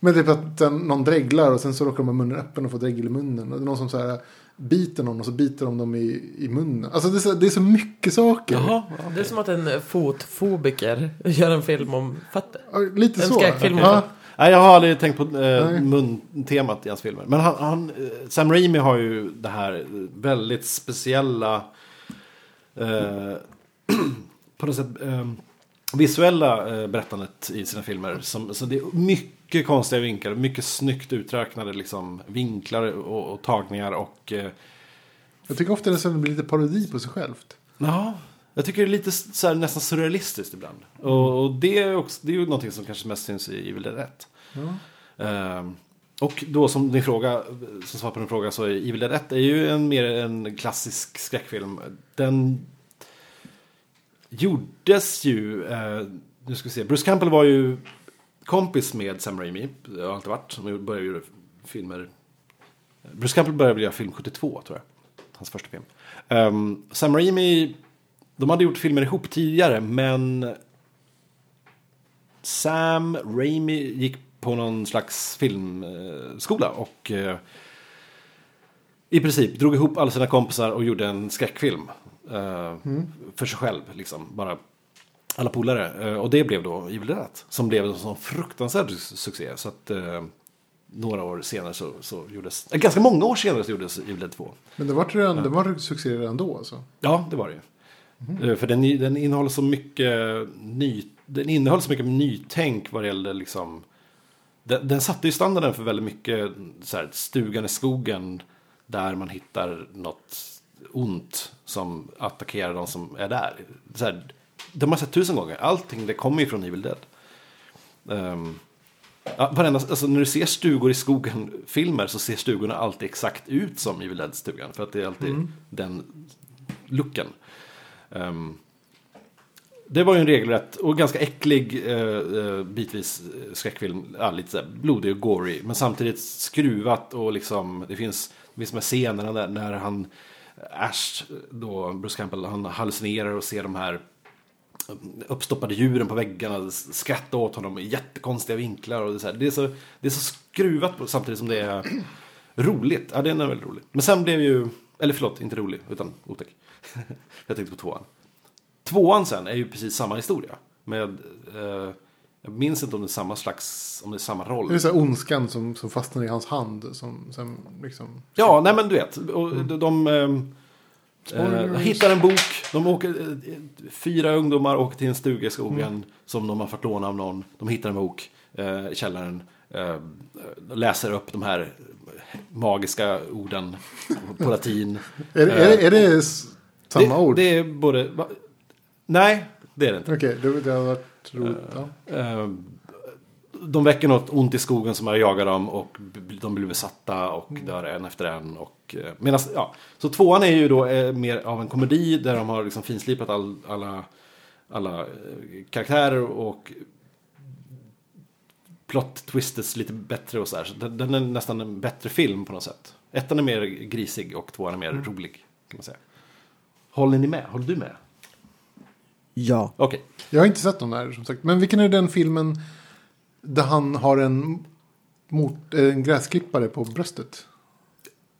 S4: Men typ att den, någon dreglar och sen så råkar de ha munnen öppen och får dregel i munnen. Och det är någon som så här biter någon och så biter de dem i, i munnen. Alltså det är, så, det är så mycket saker.
S5: Jaha. ja.
S3: Det är som att en eh, fotfobiker gör en film om fötter.
S4: Ja, Lite
S3: En
S4: så.
S3: skräckfilm.
S4: Ja,
S5: Nej, jag har aldrig tänkt på eh,
S4: Nej.
S5: muntemat i hans filmer. Men han, han, eh, Sam Raimi har ju det här eh, väldigt speciella eh, på något sätt eh, visuella eh, berättandet i sina filmer. Som, så det är mycket konstiga vinklar, mycket snyggt uträknade liksom, vinklar och, och tagningar. Och, eh,
S4: jag tycker ofta det blir lite parodi på sig självt.
S5: Ja, jag tycker det är lite så här, nästan surrealistiskt ibland. Och, och det, är också, det är ju någonting som kanske mest syns i Evil Dead 1. Ehm, och då som din fråga, som svar på din fråga, så är Evil Dead 1 är ju en, mer en klassisk skräckfilm. Den gjordes ju, eh, nu ska vi se, Bruce Campbell var ju kompis med Sam Raimi, har alltid varit, som började göra filmer Bruce Campbell började göra film 72, tror jag. Hans första film. Ehm, Sam Raimi, de hade gjort filmer ihop tidigare, men Sam Raimi gick på någon slags filmskola och eh, i princip drog ihop alla sina kompisar och gjorde en skräckfilm. eh, För sig själv, liksom. Bara alla polare. Eh, Och det blev då Evil Dead, som blev en sån fruktansvärd su- succé. Så att eh, några år senare så, så gjordes, eh, ganska många år senare så gjordes Evil Dead 2.
S4: Men det var, redan, det var succé redan då alltså.
S5: Ja, det var det ju. Eh, För den, den innehåller så mycket ny, den innehöll så mycket nytänk vad det gällde liksom den, den satte ju standarden för väldigt mycket så här, stugan i skogen där man hittar något ont som attackerar de som är där. Så här, det har man sett tusen gånger. Allting det kommer ju från Evil Dead. Um, ja, varenda, alltså, när du ser stugor i skogen-filmer så ser stugorna alltid exakt ut som Evil Dead-stugan. För att det är alltid den looken. Ehm, det var ju en regelrätt och ganska äcklig eh, eh, bitvis eh, skräckfilm. Ja, lite så här blodig och gory. Men samtidigt skruvat och liksom det finns, det finns de här scenerna där, när han Ash, då Bruce Campbell, han hallucinerar och ser de här uppstoppade djuren på väggarna, skratta åt honom i jättekonstiga vinklar. Och det, är så här. Det, är så, det är så skruvat på, samtidigt som det är roligt. Ja, den är väldigt rolig. Men sen blev ju, eller förlåt, inte rolig, utan otäck. Jag tänkte på tvåan. Tvåan sen är ju precis samma historia. Med, eh, jag minns inte om det är samma slags, om det är samma roll.
S4: Det är så här ondskan som, som fastnar i hans hand. Som, som liksom...
S5: Ja, nej men du vet. Och de de ehm, eh,
S4: Mm. Spoilers.
S5: hittar en bok. De åker, eh, fyra ungdomar åker till en stuga i skogen
S4: Mm.
S5: som de har fått låna av någon. De hittar en bok eh, i källaren. Eh, läser upp de här magiska orden på latin.
S4: Är, är, är, det- är det s- samma
S5: Eh, det,
S4: ord?
S5: Det är både... Va? Nej, det är det inte.
S4: Okej, det, det har varit roligt. Ja.
S5: Eh, de väcker något ont i skogen som har jagat dem och b- de blir besatta och dör en efter en. Och, eh, medan, ja. Så tvåan är ju då eh, mer av en komedi där de har liksom finslipat all, alla, alla eh, karaktärer och plot twistes lite bättre och så här. Så den, den är nästan en bättre film på något sätt. Ettan är mer grisig och tvåan är mer rolig. Kan man säga. Håller ni med? Håller du med?
S6: Ja.
S5: Okej.
S4: Jag har inte sett de där som sagt. Men vilken är den filmen där han har en, mot, eh, en gräsklippare på bröstet?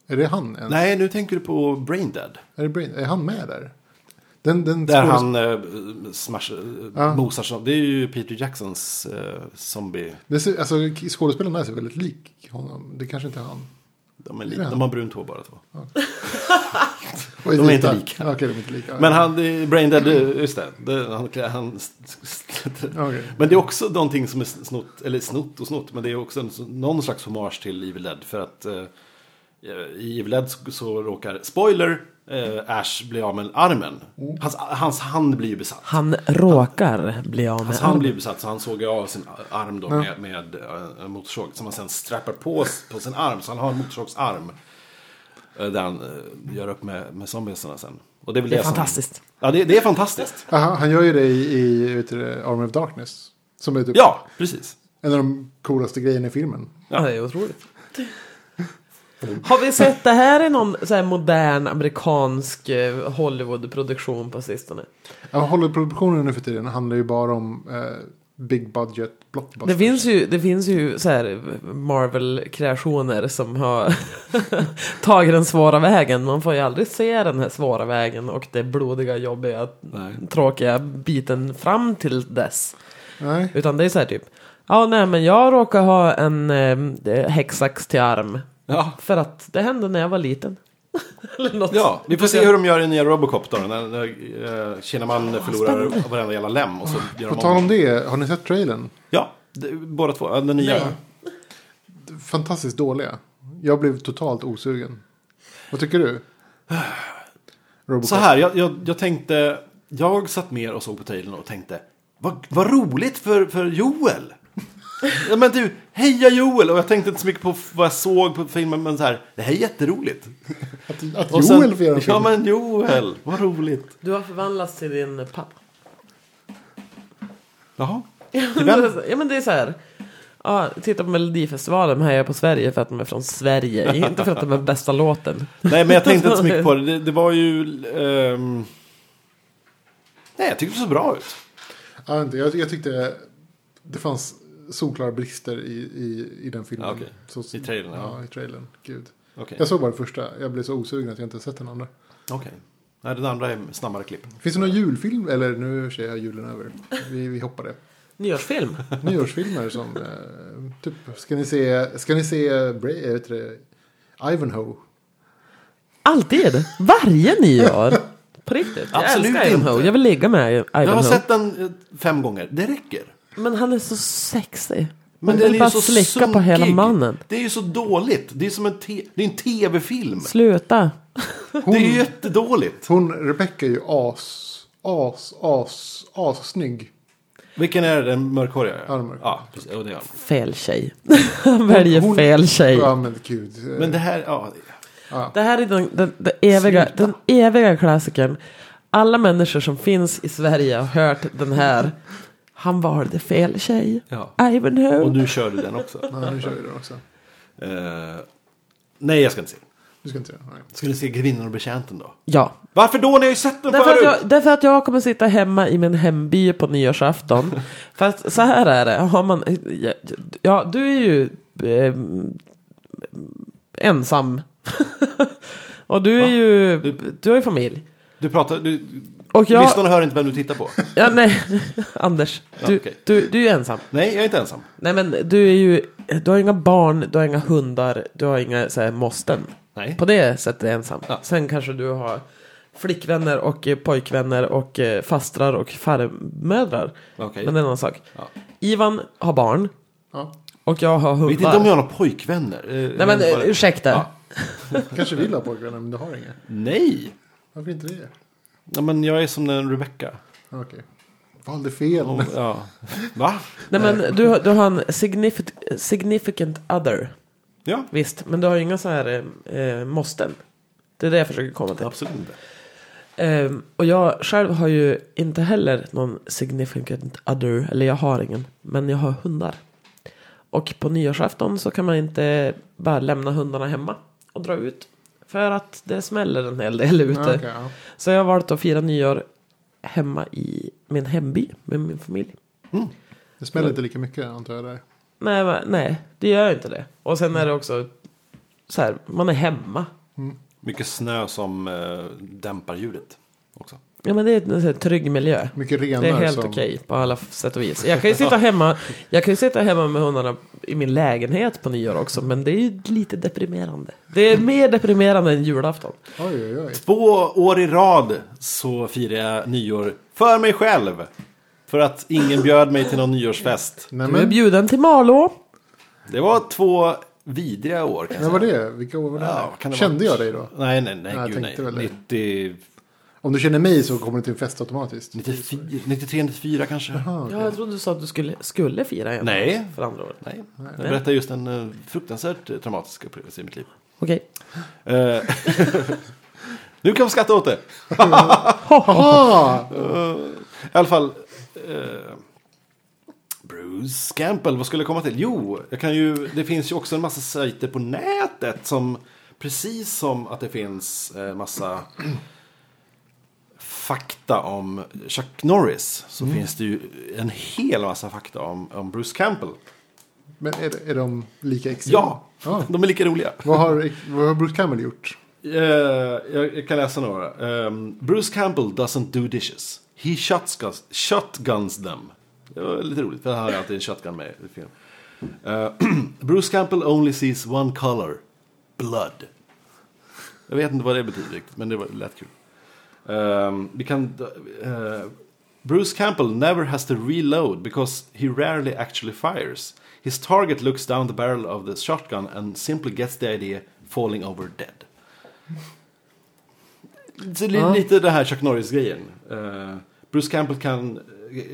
S4: Är det han? ens?
S5: Nej, nu tänker du på Brain Dead.
S4: Är, det Brain, är han med där? Den, den
S5: Där
S4: skådes-
S5: han eh, smash,
S4: Ja.
S5: mosar som, Det är ju Peter Jacksons eh, zombie.
S4: Det ser, alltså, skådespelaren där ser väldigt lik honom. Det kanske inte är han.
S5: De, är lite,
S4: Ja.
S5: de har brunt hår bara två.
S4: Och
S5: De är inte
S4: vita.
S5: lika.
S4: Ja, Okej, de är inte lika.
S5: Men han, det är Brain Dead, eh, just det. det han, klä- han,
S4: Okej.
S5: Men det är också någonting som är snott, eller snott och snott, men det är också en, någon slags hommage till Evil Dead. För att eh, i Evil Dead så, så råkar, spoiler, eh, Ash bli av med armen.
S4: Mm.
S5: Hans, hans hand blir ju besatt.
S3: Han råkar bli av med
S5: Hans hand blir besatt så Alltså, han såg ju av sin arm då med, med eh, en motorsåg. Som han sen strappar på s- på sin arm. Så han har en motorsågsarm. eh, Där han eh, gör upp med, med zombiesarna sen. Och det är väl
S3: Det
S5: det,
S3: är
S5: som-
S3: fantastiskt.
S5: Ja, det, det är fantastiskt.
S4: Aha, han gör ju det i, i vet du, det, Armor of Darkness. Som är typ
S5: Ja, precis.
S4: en av de coolaste grejerna i filmen.
S3: Ja, det är otroligt. Har vi sett det här i någon så här modern amerikansk eh, Hollywood-produktion på sistone?
S4: Ja, Hollywood-produktionen nu för tiden handlar ju bara om eh, big budget blockbusters.
S3: Det finns ju, det finns ju så här Marvel-kreationer som har tagit den svåra vägen. Man får ju aldrig se den här svåra vägen och det blodiga, jobbiga, tråkiga biten fram till dess.
S4: Nej.
S3: Utan det är så här typ, ja nej men jag råkar ha en eh, häcksax till arm.
S5: Ja.
S3: För att det hände när jag var liten. Eller något.
S5: Ja, vi får se hur de gör i nya Robocop då. När, när eh, Kinnaman förlorar varenda jävla lem och så gör
S4: På
S5: de
S4: tal
S5: om.
S4: om det, har ni sett trailern?
S5: Ja, det, båda två. Ja, Den nya.
S3: Nej.
S4: Fantastiskt dåliga. Jag blev totalt osugen. Vad tycker du? Robocop.
S5: Så här, jag, jag, jag tänkte, jag satt mer och såg på trailern och tänkte, vad, vad roligt för, för Joel. ja, men du, heja Joel! Och jag tänkte inte så mycket på f- vad jag såg på filmen, men så här, det här är jätteroligt.
S4: Att, att
S5: Och
S4: Joel
S5: sen-
S4: får göra en film.
S5: Ja, men Joel, vad roligt.
S3: Du har förvandlats till din pappa.
S5: Jaha.
S3: ja men det är så här. Ja, titta på Melodifestivalen, här är jag på Sverige för att de är från Sverige. Inte för att de är bästa låten.
S5: Nej, men jag tänkte inte så mycket på det. Det, det var ju... ehm, Nej, jag tyckte det såg bra ut.
S4: Jag vet inte, Jag, jag tyckte det fanns solklara brister i, i, i den filmen.
S5: Ja, okej.
S4: Så-
S5: I trailern, ja.
S4: Ja, i trailern. Gud.
S5: Okej.
S4: Jag såg bara det första. Jag blev så osugen att jag inte har sett den andra.
S5: Okej. Nej, den andra är snabbare klipp.
S4: Finns det någon julfilm? Eller nu i och för sig är julen över. Vi, vi hoppar det.
S3: Nyårsfilm.
S4: Nyårsfilmer som... Eh, typ, ska ni se... Ska ni se... Bra, jag vet det, Ivanhoe?
S3: Alltid. Varje nyår. På riktigt. Jag
S5: Absolut
S3: älskar Ivanhoe.
S5: inte.
S3: Jag vill ligga med Ivanhoe.
S5: Jag har sett den eh, fem gånger. Det räcker.
S3: Men han är så sexig.
S5: Men
S3: Men
S5: den är
S3: vill
S5: ju
S3: bara
S5: så
S3: slicka på hela
S5: sunkig.
S3: mannen.
S5: Det är ju så dåligt. Det är som en, te- det är en tv-film.
S3: Sluta.
S5: Det är ju jättedåligt.
S4: Hon, Rebecca är ju as... As, as, as snygg.
S5: Vilken är det? Den mörkhåriga?
S4: Ja, den mörkhåriga.
S5: Ja, precis. Och det är han.
S3: Fel tjej. Han väljer fel tjej.
S4: Ja men gud. eh,
S5: Men det här, ja.
S3: Det här är den, den, den, eviga, den eviga klassikern. Alla människor som finns i Sverige har hört den här. Han valde fel tjej.
S5: Ja. Och
S3: Ivanhoe.
S5: nu kör du den också.
S4: Ja, nu kör vi den också.
S5: Eh, nej, jag ska inte se den.
S4: Du ska inte göra det. Nej.
S5: Ska ni se Grevinnan och betjänten då?
S3: Ja.
S5: Varför då? Ni har ju sett den
S3: Därför att,
S5: förut!
S3: jag, därför att jag kommer sitta hemma i min hemby på nyårsafton. Fast så här är det. Har man, ja, ja, du är ju eh, ensam. Och du är ju, du har ju familj.
S5: Du pratar, du,
S3: Och jag,
S5: lyssnarna hör inte vem du tittar på.
S3: ja, nej, Anders, du,
S5: okej.
S3: du, du är ju ensam.
S5: Nej, jag är inte ensam.
S3: Nej men du är ju, du har inga barn, du har inga hundar, du har inga så här, måsten.
S5: Nej.
S3: På det sättet är du ensam.
S5: Ja.
S3: Sen kanske du har flickvänner och eh, pojkvänner och eh, fastrar och farmödrar.
S5: Okej.
S3: Men det är en annan sak.
S5: Ja.
S3: Ivan har barn
S4: Ja,
S3: och jag har hundar.
S5: Vet inte om jag har några pojkvänner. Eh,
S3: Nej men
S5: bara-
S3: eh, ursäkta.
S5: Ja.
S4: kanske vill ha pojkvänner men du har inga.
S5: Nej!
S4: Varför inte det?
S5: Ja, men jag är som den Rebecca.
S4: Ja, Okej. Valde fel.
S5: Och, ja. Va?
S3: Nej men du, har- du har en significant, significant other.
S5: Ja,
S3: Visst, men du har ju inga så här eh, eh, måsten. Det är det jag försöker komma till.
S5: absolut inte.
S3: Ehm, och jag själv har ju inte heller någon significant other, eller jag har ingen, men jag har hundar. Och på nyårsafton så kan man inte bara lämna hundarna hemma och dra ut. För att det smäller en hel del ute.
S4: Ja, okej, ja.
S3: Så jag har valt att fira nyår hemma i min hemby med min familj.
S4: Det smäller inte lika mycket antar jag där.
S3: Nej, va- nej det gör inte det. Och sen är det också så här, man är hemma.
S5: Mycket snö som eh, dämpar ljudet också.
S3: Ja men det är en sån här trygg miljö.
S4: Mycket renar
S3: Det är helt
S4: som...
S3: okej på alla f- sätt och vis. Jag kan ju sitta hemma, jag kan ju sitta hemma med hundarna i min lägenhet på nyår också. Men det är ju lite deprimerande. Det är mer deprimerande än julafton.
S4: Oj, oj, oj.
S5: Två år i rad så firar jag nyår för mig själv. För att ingen bjöd mig till någon nyårsfest.
S4: Nej,
S3: Du är
S4: men,
S3: bjuden till Malå.
S5: Det var två vidriga år kan jag
S4: när
S5: säga.
S4: var det? Vilka år var det?
S5: Ja, kan det
S4: Kände
S5: vara-
S4: jag dig då?
S5: Nej, nej, nej.
S4: Nej, jag
S5: gud, nej.
S4: tänkte väl det.
S5: 90,
S4: Om du känner mig så kommer du till en fest automatiskt.
S5: 94, 93, 94 kanske.
S3: Ja, jag trodde du sa att du skulle, skulle fira igen.
S5: Nej.
S3: För andra året.
S5: Nej, jag berättar just en eh, fruktansvärt eh, traumatisk upplevelse i mitt liv.
S3: Okej.
S5: Eh, nu kan vi skratta åt det. Eh,
S4: Aha!
S5: I alla fall. eh, Bruce Campbell, vad skulle jag komma till? Jo, jag kan ju, det finns ju också en massa sajter på nätet som precis som att det finns eh, massa fakta om Chuck Norris så finns det ju en hel massa fakta om, om Bruce Campbell.
S4: Men är, det- är de lika extra?
S5: Ja,
S4: Ja.
S5: de är lika roliga.
S4: Vad har, vad har Bruce Campbell gjort?
S5: Eh, jag, jag kan läsa några. Ehm, Bruce Campbell doesn't do dishes. He shotguns, shotguns them. Det var lite roligt, för han har alltid en shotgun med i film. Eh, Bruce Campbell only sees one color. Blood. Jag vet inte vad det betyder riktigt, men det var lätt kul. Ehm, vi kan... eh, Bruce Campbell never has to reload because he rarely actually fires. His target looks down the barrel of the shotgun and simply gets the idea falling over dead. Så li- Lite det här Chuck Norris-grejen. Eh, Bruce Campbell can,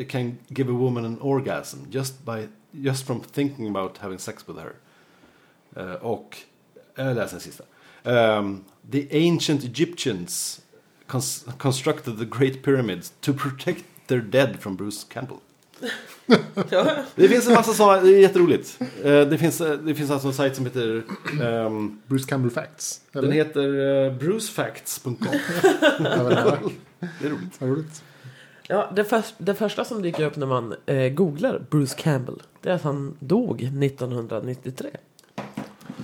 S5: can give a woman an orgasm just, by, just from thinking about having sex with her. Eh, och, eh, jag läser den sista. Ehm, the ancient Egyptians cons- constructed the great pyramids to protect their dead from Bruce Campbell. det finns en massa sådana, det är jätteroligt. Eh, det, finns, eh, det finns alltså en sajt som heter ehm,
S4: Bruce Campbell Facts? Eller?
S5: den heter eh, brucefacts.com.
S4: Ja, väl, ja.
S5: Det är roligt.
S4: Vad roligt.
S3: Ja, det, förs- det första som dyker upp när man eh, googlar Bruce Campbell. Det är att han dog 1993.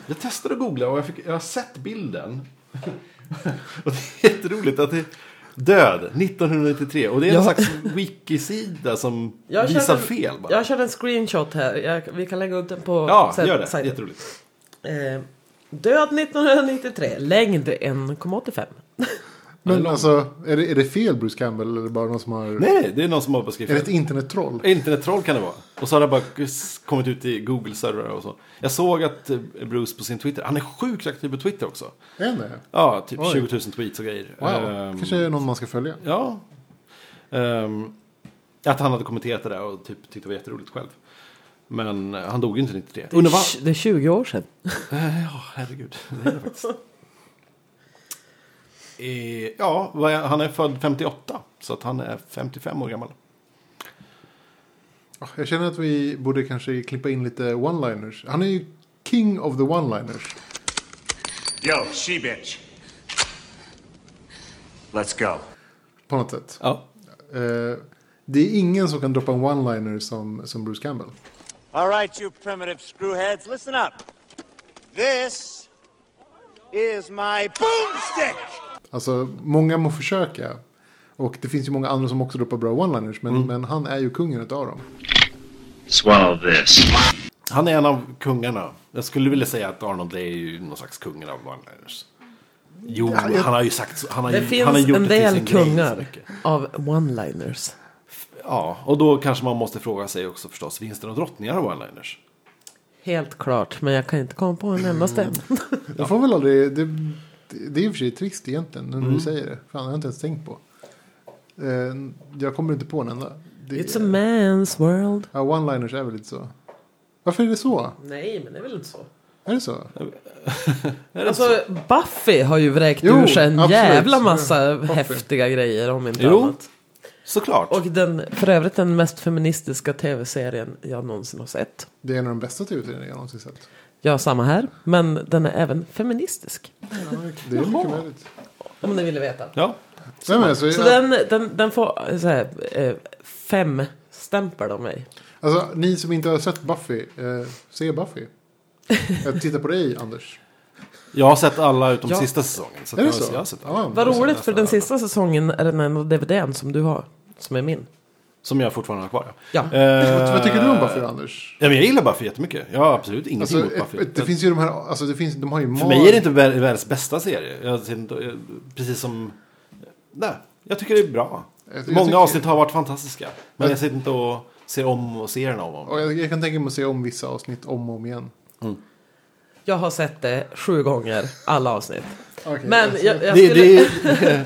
S5: Jag testade att googla och jag, fick, jag har sett bilden. och det är jätteroligt att det är död 1993. Och det är en
S3: Ja.
S5: slags wikisida som
S3: Jag
S5: visar
S3: körde en-
S5: fel bara.
S3: Jag körde en screenshot här. Jag, vi kan lägga upp den på
S5: ja,
S3: sajt-
S5: gör det.
S3: sajten.
S5: Jätteroligt.
S3: Eh, död 1993, längd 1,85.
S4: Men alltså, är det, är det fel Bruce Campbell eller är det bara någon som har...
S5: Nej, det är någon som har
S4: Är det
S5: beskrivit
S4: ett
S5: fel.
S4: internettroll?
S5: Internettroll kan det vara. Och så har det bara kommit ut i Google-servrar och så. Jag såg att eh, Bruce på sin Twitter, han är sjukt aktiv på Twitter också.
S4: Är det?
S5: Ja, typ
S4: Oj.
S5: 20 000 tweets och grejer.
S4: Wow.
S5: Ehm,
S4: Kanske är det någon man ska följa.
S5: Ja. Ehm, att han hade kommenterat det där och typ tyckte det var jätteroligt själv. Men eh, han dog ju inte 93. Undrar vad...
S3: Det är 20 år sedan.
S5: Eh, Ja, herregud. Det är det faktiskt. Eh, ja, vad är- han är född 58. Så att han är 55 år gammal.
S4: Oh, Jag känner att vi borde kanske klippa in lite one-liners. Han är ju king of the one-liners.
S7: Yo, she bitch. Let's go.
S4: På något sätt.
S5: Ja.
S4: Eh, det är ingen som kan droppa en one-liner som, som Bruce Campbell.
S7: All right, you primitive screwheads, listen up. This is my boomstick.
S4: Alltså, många må försöka. Och det finns ju många andra som också droppar bra one-liners. Men,
S3: Mm.
S4: men han är ju kungen utav dem.
S8: Swallow this.
S5: Han är en av kungarna. Jag skulle vilja säga att Arnold är ju någon slags kungen av one-liners. Jo, han har ju sagt så. Han har,
S3: Det
S5: ju,
S3: finns
S5: han har gjort
S3: en
S5: det till
S3: del
S5: sin grej så
S3: kungar
S5: mycket.
S3: av one-liners.
S5: Ja, och då kanske man måste fråga sig också förstås. Finns det några drottningar av one-liners?
S3: Helt klart, men jag kan inte komma på en endaste.
S5: Mm.
S4: Jag får väl aldrig... Det, det är i och för sig trist egentligen när
S3: Mm.
S4: du säger det. Fan, jag har jag inte ens tänkt på. Eh, jag kommer inte på en enda. Det
S3: It's a
S4: är-
S3: man's world.
S4: ja, one-liners är väl lite så. Varför är det så?
S3: Nej, men det är väl inte så.
S4: Är det så?
S3: Alltså, Buffy har ju vräkt
S4: Jo,
S3: ur sig en
S4: absolut.
S3: jävla massa
S4: Buffy.
S3: häftiga grejer om inte
S5: Mm. Jo.
S3: annat.
S5: Såklart.
S3: Och den, för övrigt den mest feministiska tv-serien jag någonsin har sett.
S4: Det är en av de bästa tv-serierna jag någonsin sett.
S3: Ja, samma här. Men den är även feministisk.
S4: Det är mycket möjligt.
S3: Om ni ville veta.
S5: Ja.
S4: Nej, men alltså,
S3: Så
S4: jag,
S3: den, den, den får så här, eh, fem stämpel av mig.
S4: alltså, ni som inte har sett Buffy, eh, se Buffy. Jag tittar på dig Anders.
S5: Jag har sett alla utom
S3: Ja.
S5: sista säsongen. Så
S4: Är det
S5: jag,
S4: så?
S5: Jag har sett alla.
S4: Ja,
S3: Vad
S5: Jag har sett
S3: roligt för
S5: nästan
S3: den
S5: alla.
S3: sista säsongen är den enda DVDn som du har. Som är min.
S5: Som jag fortfarande har kvar.
S3: Ja.
S5: Eh,
S4: Vad, vad tycker du om Buffy Anders?
S5: Ja, men jag gillar Buffy jättemycket. Jag har absolut ingenting
S4: Alltså,
S5: emot Buffy.
S4: ett, det
S5: Men
S4: finns ju de här, alltså det finns, de har ju
S5: För mig är det inte vär- världens bästa serie. Jag, ser inte- eh, precis som... Nej, jag tycker det är bra.
S4: Jag
S5: Många
S4: tycker-
S5: avsnitt har varit fantastiska. Men
S4: Jag-
S5: jag sitter inte och ser om och ser den om och om.
S4: Och jag, jag kan tänka mig att se om vissa avsnitt om och om igen.
S3: Jag har sett det sju gånger, alla avsnitt.
S4: Okej,
S3: Men
S4: alltså,
S3: jag, jag
S5: Det,
S3: skulle...
S5: det är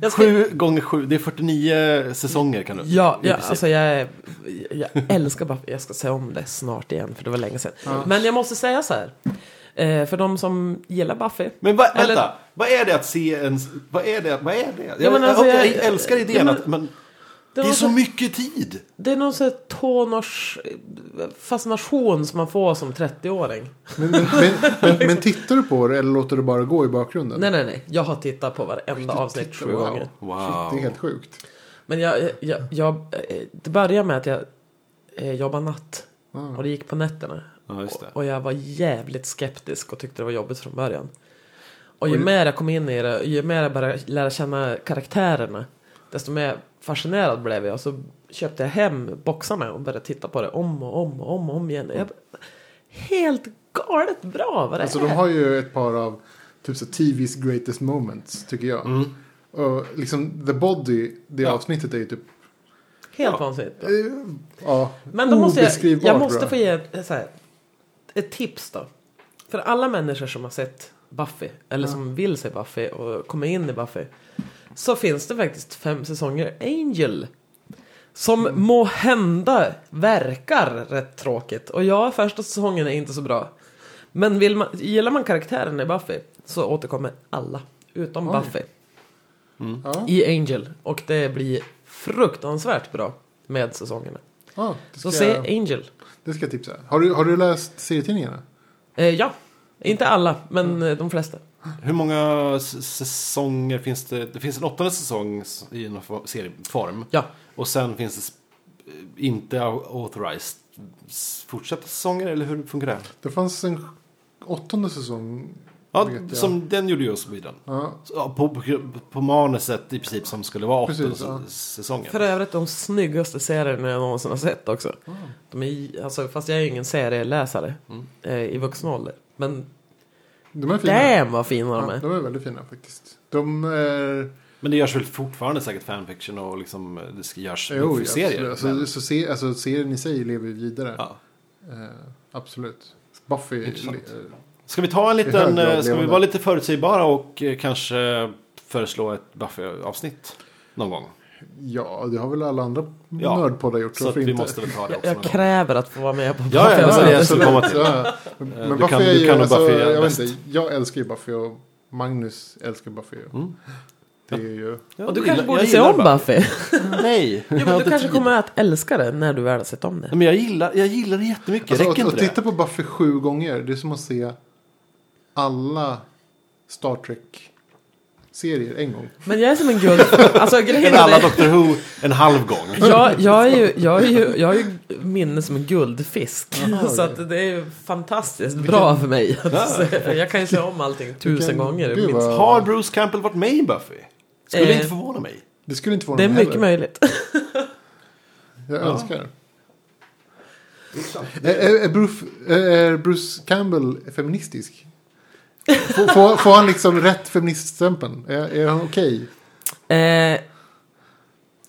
S3: jag skulle-
S5: sju gånger sju, det är 49 säsonger kan du
S3: Ja,
S5: i
S3: ja
S5: princip.
S3: alltså jag, är- jag älskar Buffy. Jag ska säga om det snart igen, för det var länge sedan. Men jag måste säga så här. Eh, för de som gillar Buffy.
S5: Men vad, vänta,
S3: Eller-
S5: vad är det att se en... Vad är det? Vad är det? Jag,
S3: Ja, men alltså,
S5: jag,
S3: jag-
S5: älskar idén
S3: Ja, men-
S5: att... Men,
S3: Det,
S5: det är
S3: var
S5: så
S3: så,
S5: mycket tid!
S3: det är någon sån här tonårsfascination som man får som 30-åring.
S4: Men, men, men, men, men tittar du på det eller låter du bara gå i bakgrunden?
S3: Nej, nej, nej. Jag har tittat på varenda avsnitt sju
S4: wow.
S3: gånger.
S5: Wow.
S4: Shit, det är helt sjukt.
S3: Men jag, jag, jag, jag, eh, det började med att jag eh, jobbade natt. Och det gick på nätterna.
S5: Ja, just det.
S3: Och, och jag var jävligt skeptisk och tyckte det var jobbigt från början. Och ju mer jag kom in i det, ju mer jag började lära känna karaktärerna, desto mer fascinerad blev jag. Så köpte jag hem boxarna och började titta på det om och om och om, och om igen. Jag, helt galet bra vad det
S4: Alltså
S3: är.
S4: de har ju ett par av typ så TV's greatest moments tycker jag.
S5: Mm.
S4: Och liksom The Body, det avsnittet är ju typ
S3: Helt vansinnigt. bra.
S4: ja,
S3: Men då måste jag,
S4: obeskrivbart
S3: jag måste
S4: bra.
S3: få ge ett, så här, ett tips då. För alla människor som har sett Buffy, eller som vill se Buffy och kommer in i Buffy. Så finns det faktiskt fem säsonger Angel. Som
S4: Mm.
S3: må hända verkar rätt tråkigt. Och ja, första säsongen är inte så bra. Men vill man, gillar man karaktären i Buffy så återkommer alla. Utom Buffy.
S4: Ja.
S3: I Angel. Och det blir fruktansvärt bra med säsongerna.
S4: Ja, det,
S3: Så
S4: ska
S3: se
S4: jag,
S3: Angel.
S4: det ska jag tipsa. Har du, har du läst serietidningarna?
S3: Eh, ja, inte alla, men eh, de flesta.
S5: Hur många s- säsonger finns det? Det finns en åttonde säsong s- i någon for- serieform.
S3: Ja.
S5: Och sen finns det sp- eh, inte au- authorized s- fortsatta säsonger, eller hur funkar det?
S4: Det fanns en åttonde säsong.
S5: Ja,
S4: vet jag.
S5: som den gjorde ju Sweden.
S4: Ja.
S5: Så, ja, På, på, på manuset i princip som skulle vara åttonde
S4: Precis, ja.
S5: s- säsongen.
S3: För övrigt de snyggaste serierna jag någonsin har sett också.
S5: Ah.
S3: De är, i- alltså, fast jag är ju ingen serieläsare
S5: Mm.
S3: eh, i vuxen ålder. Men
S4: De är fina.
S3: damn vad fina de
S4: Ja,
S3: är.
S4: de är väldigt fina faktiskt. De är...
S5: Men det görs väl fortfarande säkert fanfiction och liksom eh, det ska- görs
S4: Jo, ja,
S5: serier.
S4: serier. Alltså,
S5: men-
S4: så se, alltså, serien i sig lever ju vidare.
S5: ja.
S4: Eh, absolut. Buffy.
S5: Intressant.
S4: li- eh,
S5: Ska vi ta en
S4: I hög
S5: liten,
S4: grad
S5: eh, ska vi
S4: levande.
S5: vara lite förutsägbara och eh, kanske föreslå ett Buffy-avsnitt någon gång?
S4: ja, det har väl alla andra
S5: Ja,
S4: nördpoddar gjort.
S5: Så
S4: varför
S5: att vi
S4: inte?
S5: måste väl ta det
S3: Jag,
S5: också. någon
S3: jag
S5: gång.
S3: kräver att få vara med på
S5: Ja, ja,
S3: Buffy. Alltså,
S5: ja, jag skulle komma till. Eh,
S4: Ja, men men
S5: du
S4: Buffy
S5: kan-
S4: är
S5: du
S4: ju,
S5: kan nog
S4: alltså,
S5: Buffy
S4: jag, vet
S5: bäst.
S4: inte, jag älskar ju Buffy och Magnus älskar Buffy.
S5: Mm.
S4: Det är ju...
S5: Jag
S3: Och du
S5: gillar-
S3: kanske borde
S5: jag
S3: se
S5: gillar
S3: om Buffy.
S5: Nej.
S3: jo, men du kanske kommer att älska det när du väl har sett om det.
S5: Nej, Men jag gillar, jag gillar det jättemycket.
S4: Alltså,
S5: Räcker
S4: att,
S5: inte
S4: att titta
S5: det?
S4: på Buffy sju gånger, det är som att se alla Star Trek-serier en gång.
S3: Men jag är som en guldfisk. Alltså grejen
S5: Eller
S3: är
S5: alla
S3: det-
S5: Doctor Who en halv gång.
S3: jag, jag, är ju, jag, är ju, jag är ju minne som en guldfisk. så att det är ju fantastiskt bra för mig. Att se. jag kan ju säga om allting tusen
S4: Vilken-
S3: gånger.
S4: gud,
S3: minst.
S4: vad-
S5: Har Bruce Campbell varit med i Buffy? Skulle
S3: Eh.
S5: inte förvåna mig.
S4: Det skulle inte vara
S3: Det är
S4: någon
S3: mycket
S4: heller.
S3: möjligt.
S4: Jag önskar. Är, är, är, Bruce, är Bruce Campbell feministisk? Får, får, får han liksom rätt feministstämpeln? Är, är han okej?
S3: Eh,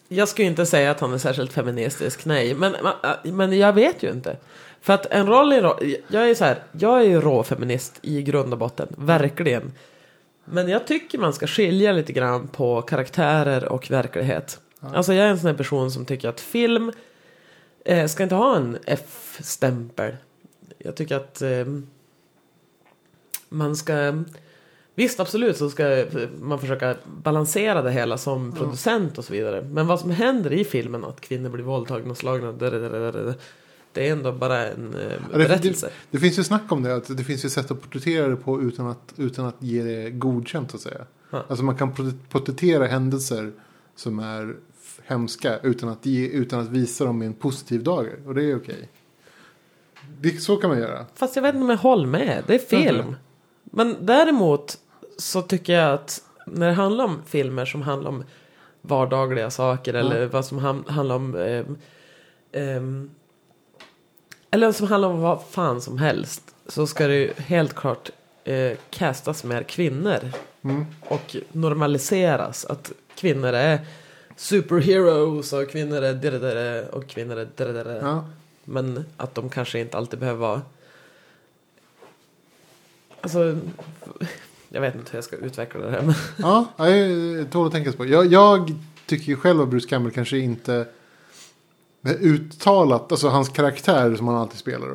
S3: jag skulle inte säga att han är särskilt feministisk, nej. Men, ma- äh, men jag vet ju inte. För att en roll i rå, jag är ju så här, jag är ju råfeminist i grund och botten, verkligen. Men jag tycker man ska skilja lite grann på karaktärer och verklighet. Alltså jag är en sån här person som tycker att film eh, ska inte ha en F-stämpel. Jag tycker att eh, man ska Visst, absolut så ska man försöka balansera det hela som producent och så vidare. Men vad som händer i filmen, att kvinnor blir våldtagna och slagna, där, där, där, där, där, det är ändå bara en eh,
S4: Ja, Det,
S3: berättelse.
S4: det, det finns ju snack om det, att det finns ju sätt att porträttera det på utan att, utan att ge det godkänt så att säga.
S3: Ja.
S4: Alltså man kan portr- porträttera händelser som är f- hemska utan att, ge, utan att visa dem i en positiv dager. Och det är okej. Det, så kan man göra.
S3: Fast jag vet inte om jag håller med. Det är film. Men däremot så tycker jag att när det handlar om filmer som handlar om vardagliga saker eller vad som ham- handlar om... ehm, ehm, eller som handlar om vad fan som helst. Så ska det ju helt klart eh, castas mer kvinnor. Och normaliseras. Att kvinnor är superheroes och kvinnor är det där och kvinnor är det där.
S4: Ja.
S3: Men att de kanske inte alltid behöver vara... Alltså... Jag vet inte hur jag ska utveckla det här. Men...
S4: Ja, ja, det tål att tänkas på. Jag, jag tycker ju själv att Bruce Campbell kanske inte är uttalat, alltså hans karaktär som han alltid spelar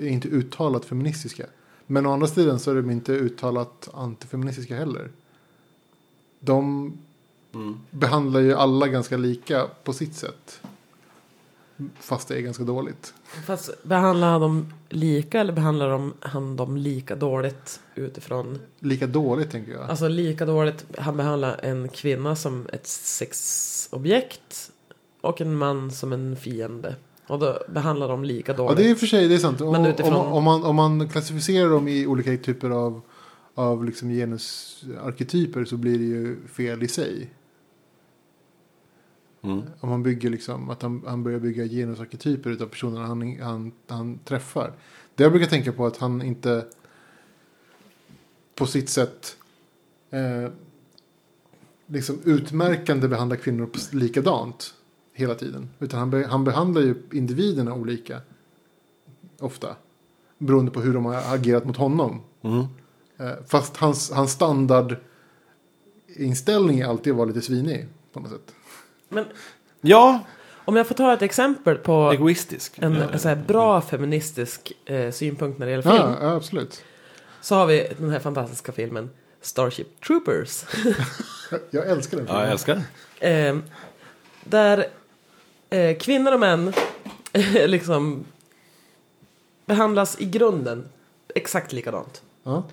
S4: är inte uttalat feministiska. Men å andra sidan så är de inte uttalat antifeministiska heller. De behandlar ju alla ganska lika på sitt sätt. Fast det är ganska dåligt.
S3: Fast behandlar han dem lika eller behandlar de, han dem lika dåligt utifrån?
S4: Lika dåligt tänker jag.
S3: Alltså lika dåligt. Han behandlar en kvinna som ett sexobjekt och en man som en fiende. Och då behandlar de lika
S4: Ja,
S3: dåligt.
S4: det är i och för sig det är sant. Om,
S3: Men utifrån-
S4: om, om, man, om man klassificerar dem i olika typer av, av liksom genusarketyper så blir det ju fel i sig. Om man bygger liksom, att han, han börjar bygga genusarketyper utav personerna han, han, han träffar. Det jag brukar tänka på är att han inte på sitt sätt eh, liksom utmärkande behandlar kvinnor på s- likadant hela tiden. Utan han, be, han behandlar ju individerna olika ofta. Beroende på hur de har agerat mot honom. Eh, Fast hans, hans standardinställning är alltid att vara lite svinig på något sätt.
S3: Men
S5: Ja,
S3: om jag får ta ett exempel på
S5: egoistisk.
S3: en, så här, bra feministisk eh, synpunkt när det gäller film.
S4: Ja, ja, absolut.
S3: Så har vi den här fantastiska filmen Starship Troopers.
S4: Jag älskar den
S5: Ja, jag älskar det.
S3: eh, där eh, kvinnor och män liksom behandlas i grunden exakt likadant.
S4: Ja.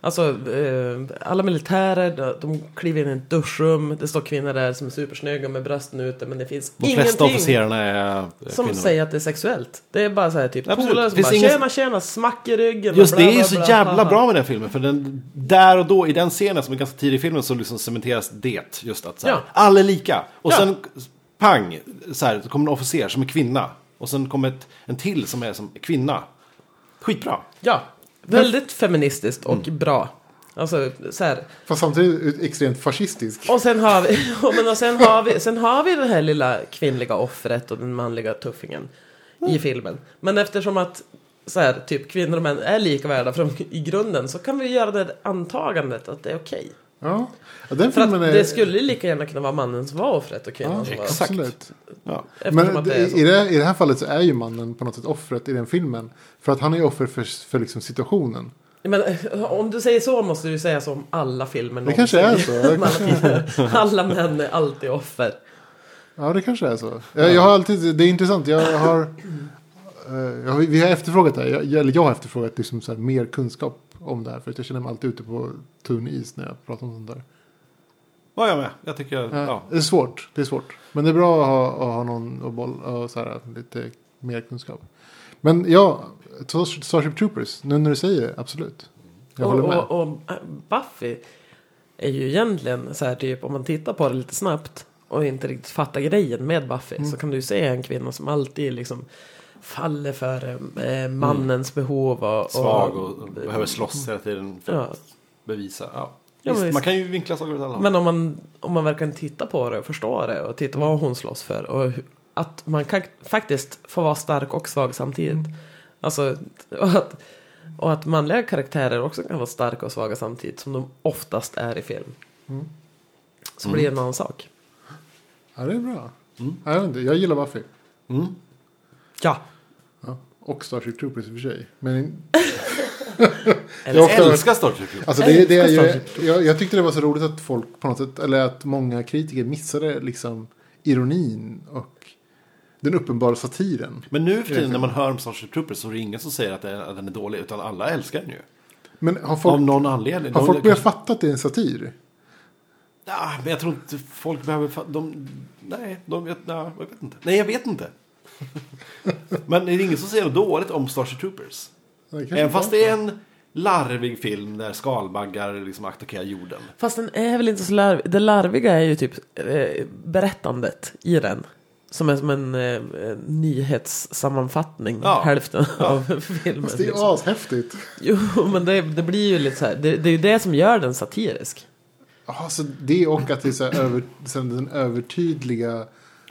S3: Alltså eh, alla militärer, de kliver in i ett duschrum, det står kvinnor där som är supersnygga med brösten ute men det finns
S5: De flesta
S3: ingenting
S5: officerarna är eh,
S3: som
S5: kvinnor.
S3: säger att det är sexuellt. Det är bara så här typ
S5: Absolut.
S3: polare som
S5: Finns
S3: bara
S5: ingen-
S3: tjena tjena smack i ryggen. och
S5: Just
S3: bla,
S5: det är
S3: bla,
S5: ju så
S3: bla,
S5: jävla
S3: haha."
S5: bra med den filmen. För den, där och då i den scenen som är ganska tidig i filmen så liksom cementeras det. Just att så här,
S3: Ja.
S5: alla är lika. Och
S3: Ja.
S5: sen pang, så här, så kommer en officer som är kvinna. Och sen kommer ett, en till som är som kvinna. Skitbra.
S3: Ja, väldigt feministiskt och
S5: Mm.
S3: bra. Alltså så här.
S4: Fast samtidigt ut- extremt fascistisk.
S3: Och sen har vi, ja, men och sen har vi, sen har vi det här lilla kvinnliga offret och den manliga tuffingen i filmen. Men eftersom att så här, typ kvinnor och män är lika värda från, i grunden så kan vi göra det antagandet att det är okej.
S4: Ja. Ja, den
S3: För
S4: filmen
S3: att
S4: är...
S3: det skulle lika gärna kunna vara mannen som var offret och kvinnan
S4: Ja,
S3: som var...
S5: exakt.
S4: absolut.
S5: Ja.
S3: Eftersom
S4: Men
S3: att det är så.
S4: i, det, i det här fallet så är ju mannen på något sätt offret i den filmen. För att han är offer för, för liksom situationen.
S3: Men eh, om du säger så måste du säga så om alla filmer
S4: Det kanske är
S3: någonsin.
S4: så.
S3: Alla filmer. alla män är alltid offer.
S4: Ja, det kanske är så. Jag, jag har alltid, det är intressant. Jag har, eh, jag, har- vi har efterfrågat det här. Jag, eller jag har efterfrågat liksom så här, mer kunskap om det här. För att jag känner mig alltid ute på tunn is när jag pratar om sånt där.
S5: Var jag med? Jag tycker jag,
S4: Ja.
S5: ja.
S4: Det är svårt. Det är svårt. Men det är bra att ha, att ha någon att boll, och så här, lite mer kunskap. Men ja, Starship Starship Troopers. Nu när du säger det, absolut. Jag håller med.
S3: och, och, och äh, Buffy är ju egentligen så här typ om man tittar på det lite snabbt och inte riktigt fattar grejen med Buffy
S4: Mm.
S3: så kan du ju se en kvinna som alltid liksom faller för eh, mannens
S4: Mm.
S3: behov och, och
S5: Svag och, och behöver slåss hela tiden för
S3: Ja.
S5: att bevisa. Ja.
S3: Ja,
S5: Visst,
S3: men
S5: man
S3: visst.
S5: kan ju vinkla saker åt alla håll.
S3: Men om man, om man verkligen tittar på det och förstår det och tittar vad hon slåss för och hu- att man kan faktiskt få vara stark och svag samtidigt.
S4: Mm.
S3: Alltså, och att, och att manliga karaktärer också kan vara starka och svaga samtidigt som de oftast är i film.
S4: Mm.
S3: Så blir det en annan sak.
S4: Ja, det är bra.
S3: Mm.
S4: Ja, jag, vet inte, jag gillar Buffy.
S3: Ja.
S4: Och Starship Troopers i och för sig. Men Jag
S5: Jag
S4: älskar,
S5: älskar Star Trek.
S4: alltså det, det är ju, jag, jag tyckte det var så roligt att folk på något sätt, eller att många kritiker missade liksom ironin och den uppenbara satiren.
S5: Men nu för tiden när man hör om Star Trek Troopers så är det ingen som säger att den, att den är dålig. Utan alla älskar den ju.
S4: Men har
S5: Av
S4: folk,
S5: någon anledning.
S4: har
S5: Någon-
S4: folk börjat fatta att det är en satir?
S5: Ja, men jag tror inte folk behöver... fa- De, nej, de, jag, nej, jag vet inte. Nej, jag vet inte. Men det är ingen som säger något dåligt om Starship Troopers.
S4: Det kanske
S5: Även
S4: inte
S5: fast det är en larvig film där skalbaggar liksom attackerar jorden.
S3: Fast den är väl inte så larvig. Det larviga är ju typ eh, berättandet i den. Som är som en eh, nyhetssammanfattning,
S5: Ja.
S3: hälften av filmen.
S4: Fast det är ju
S3: liksom.
S4: ashäftigt.
S3: Jo, men det, det blir ju lite så här. Det, det är ju det som gör den satirisk.
S4: Ja, så det och att det är så här över, så här den övertydliga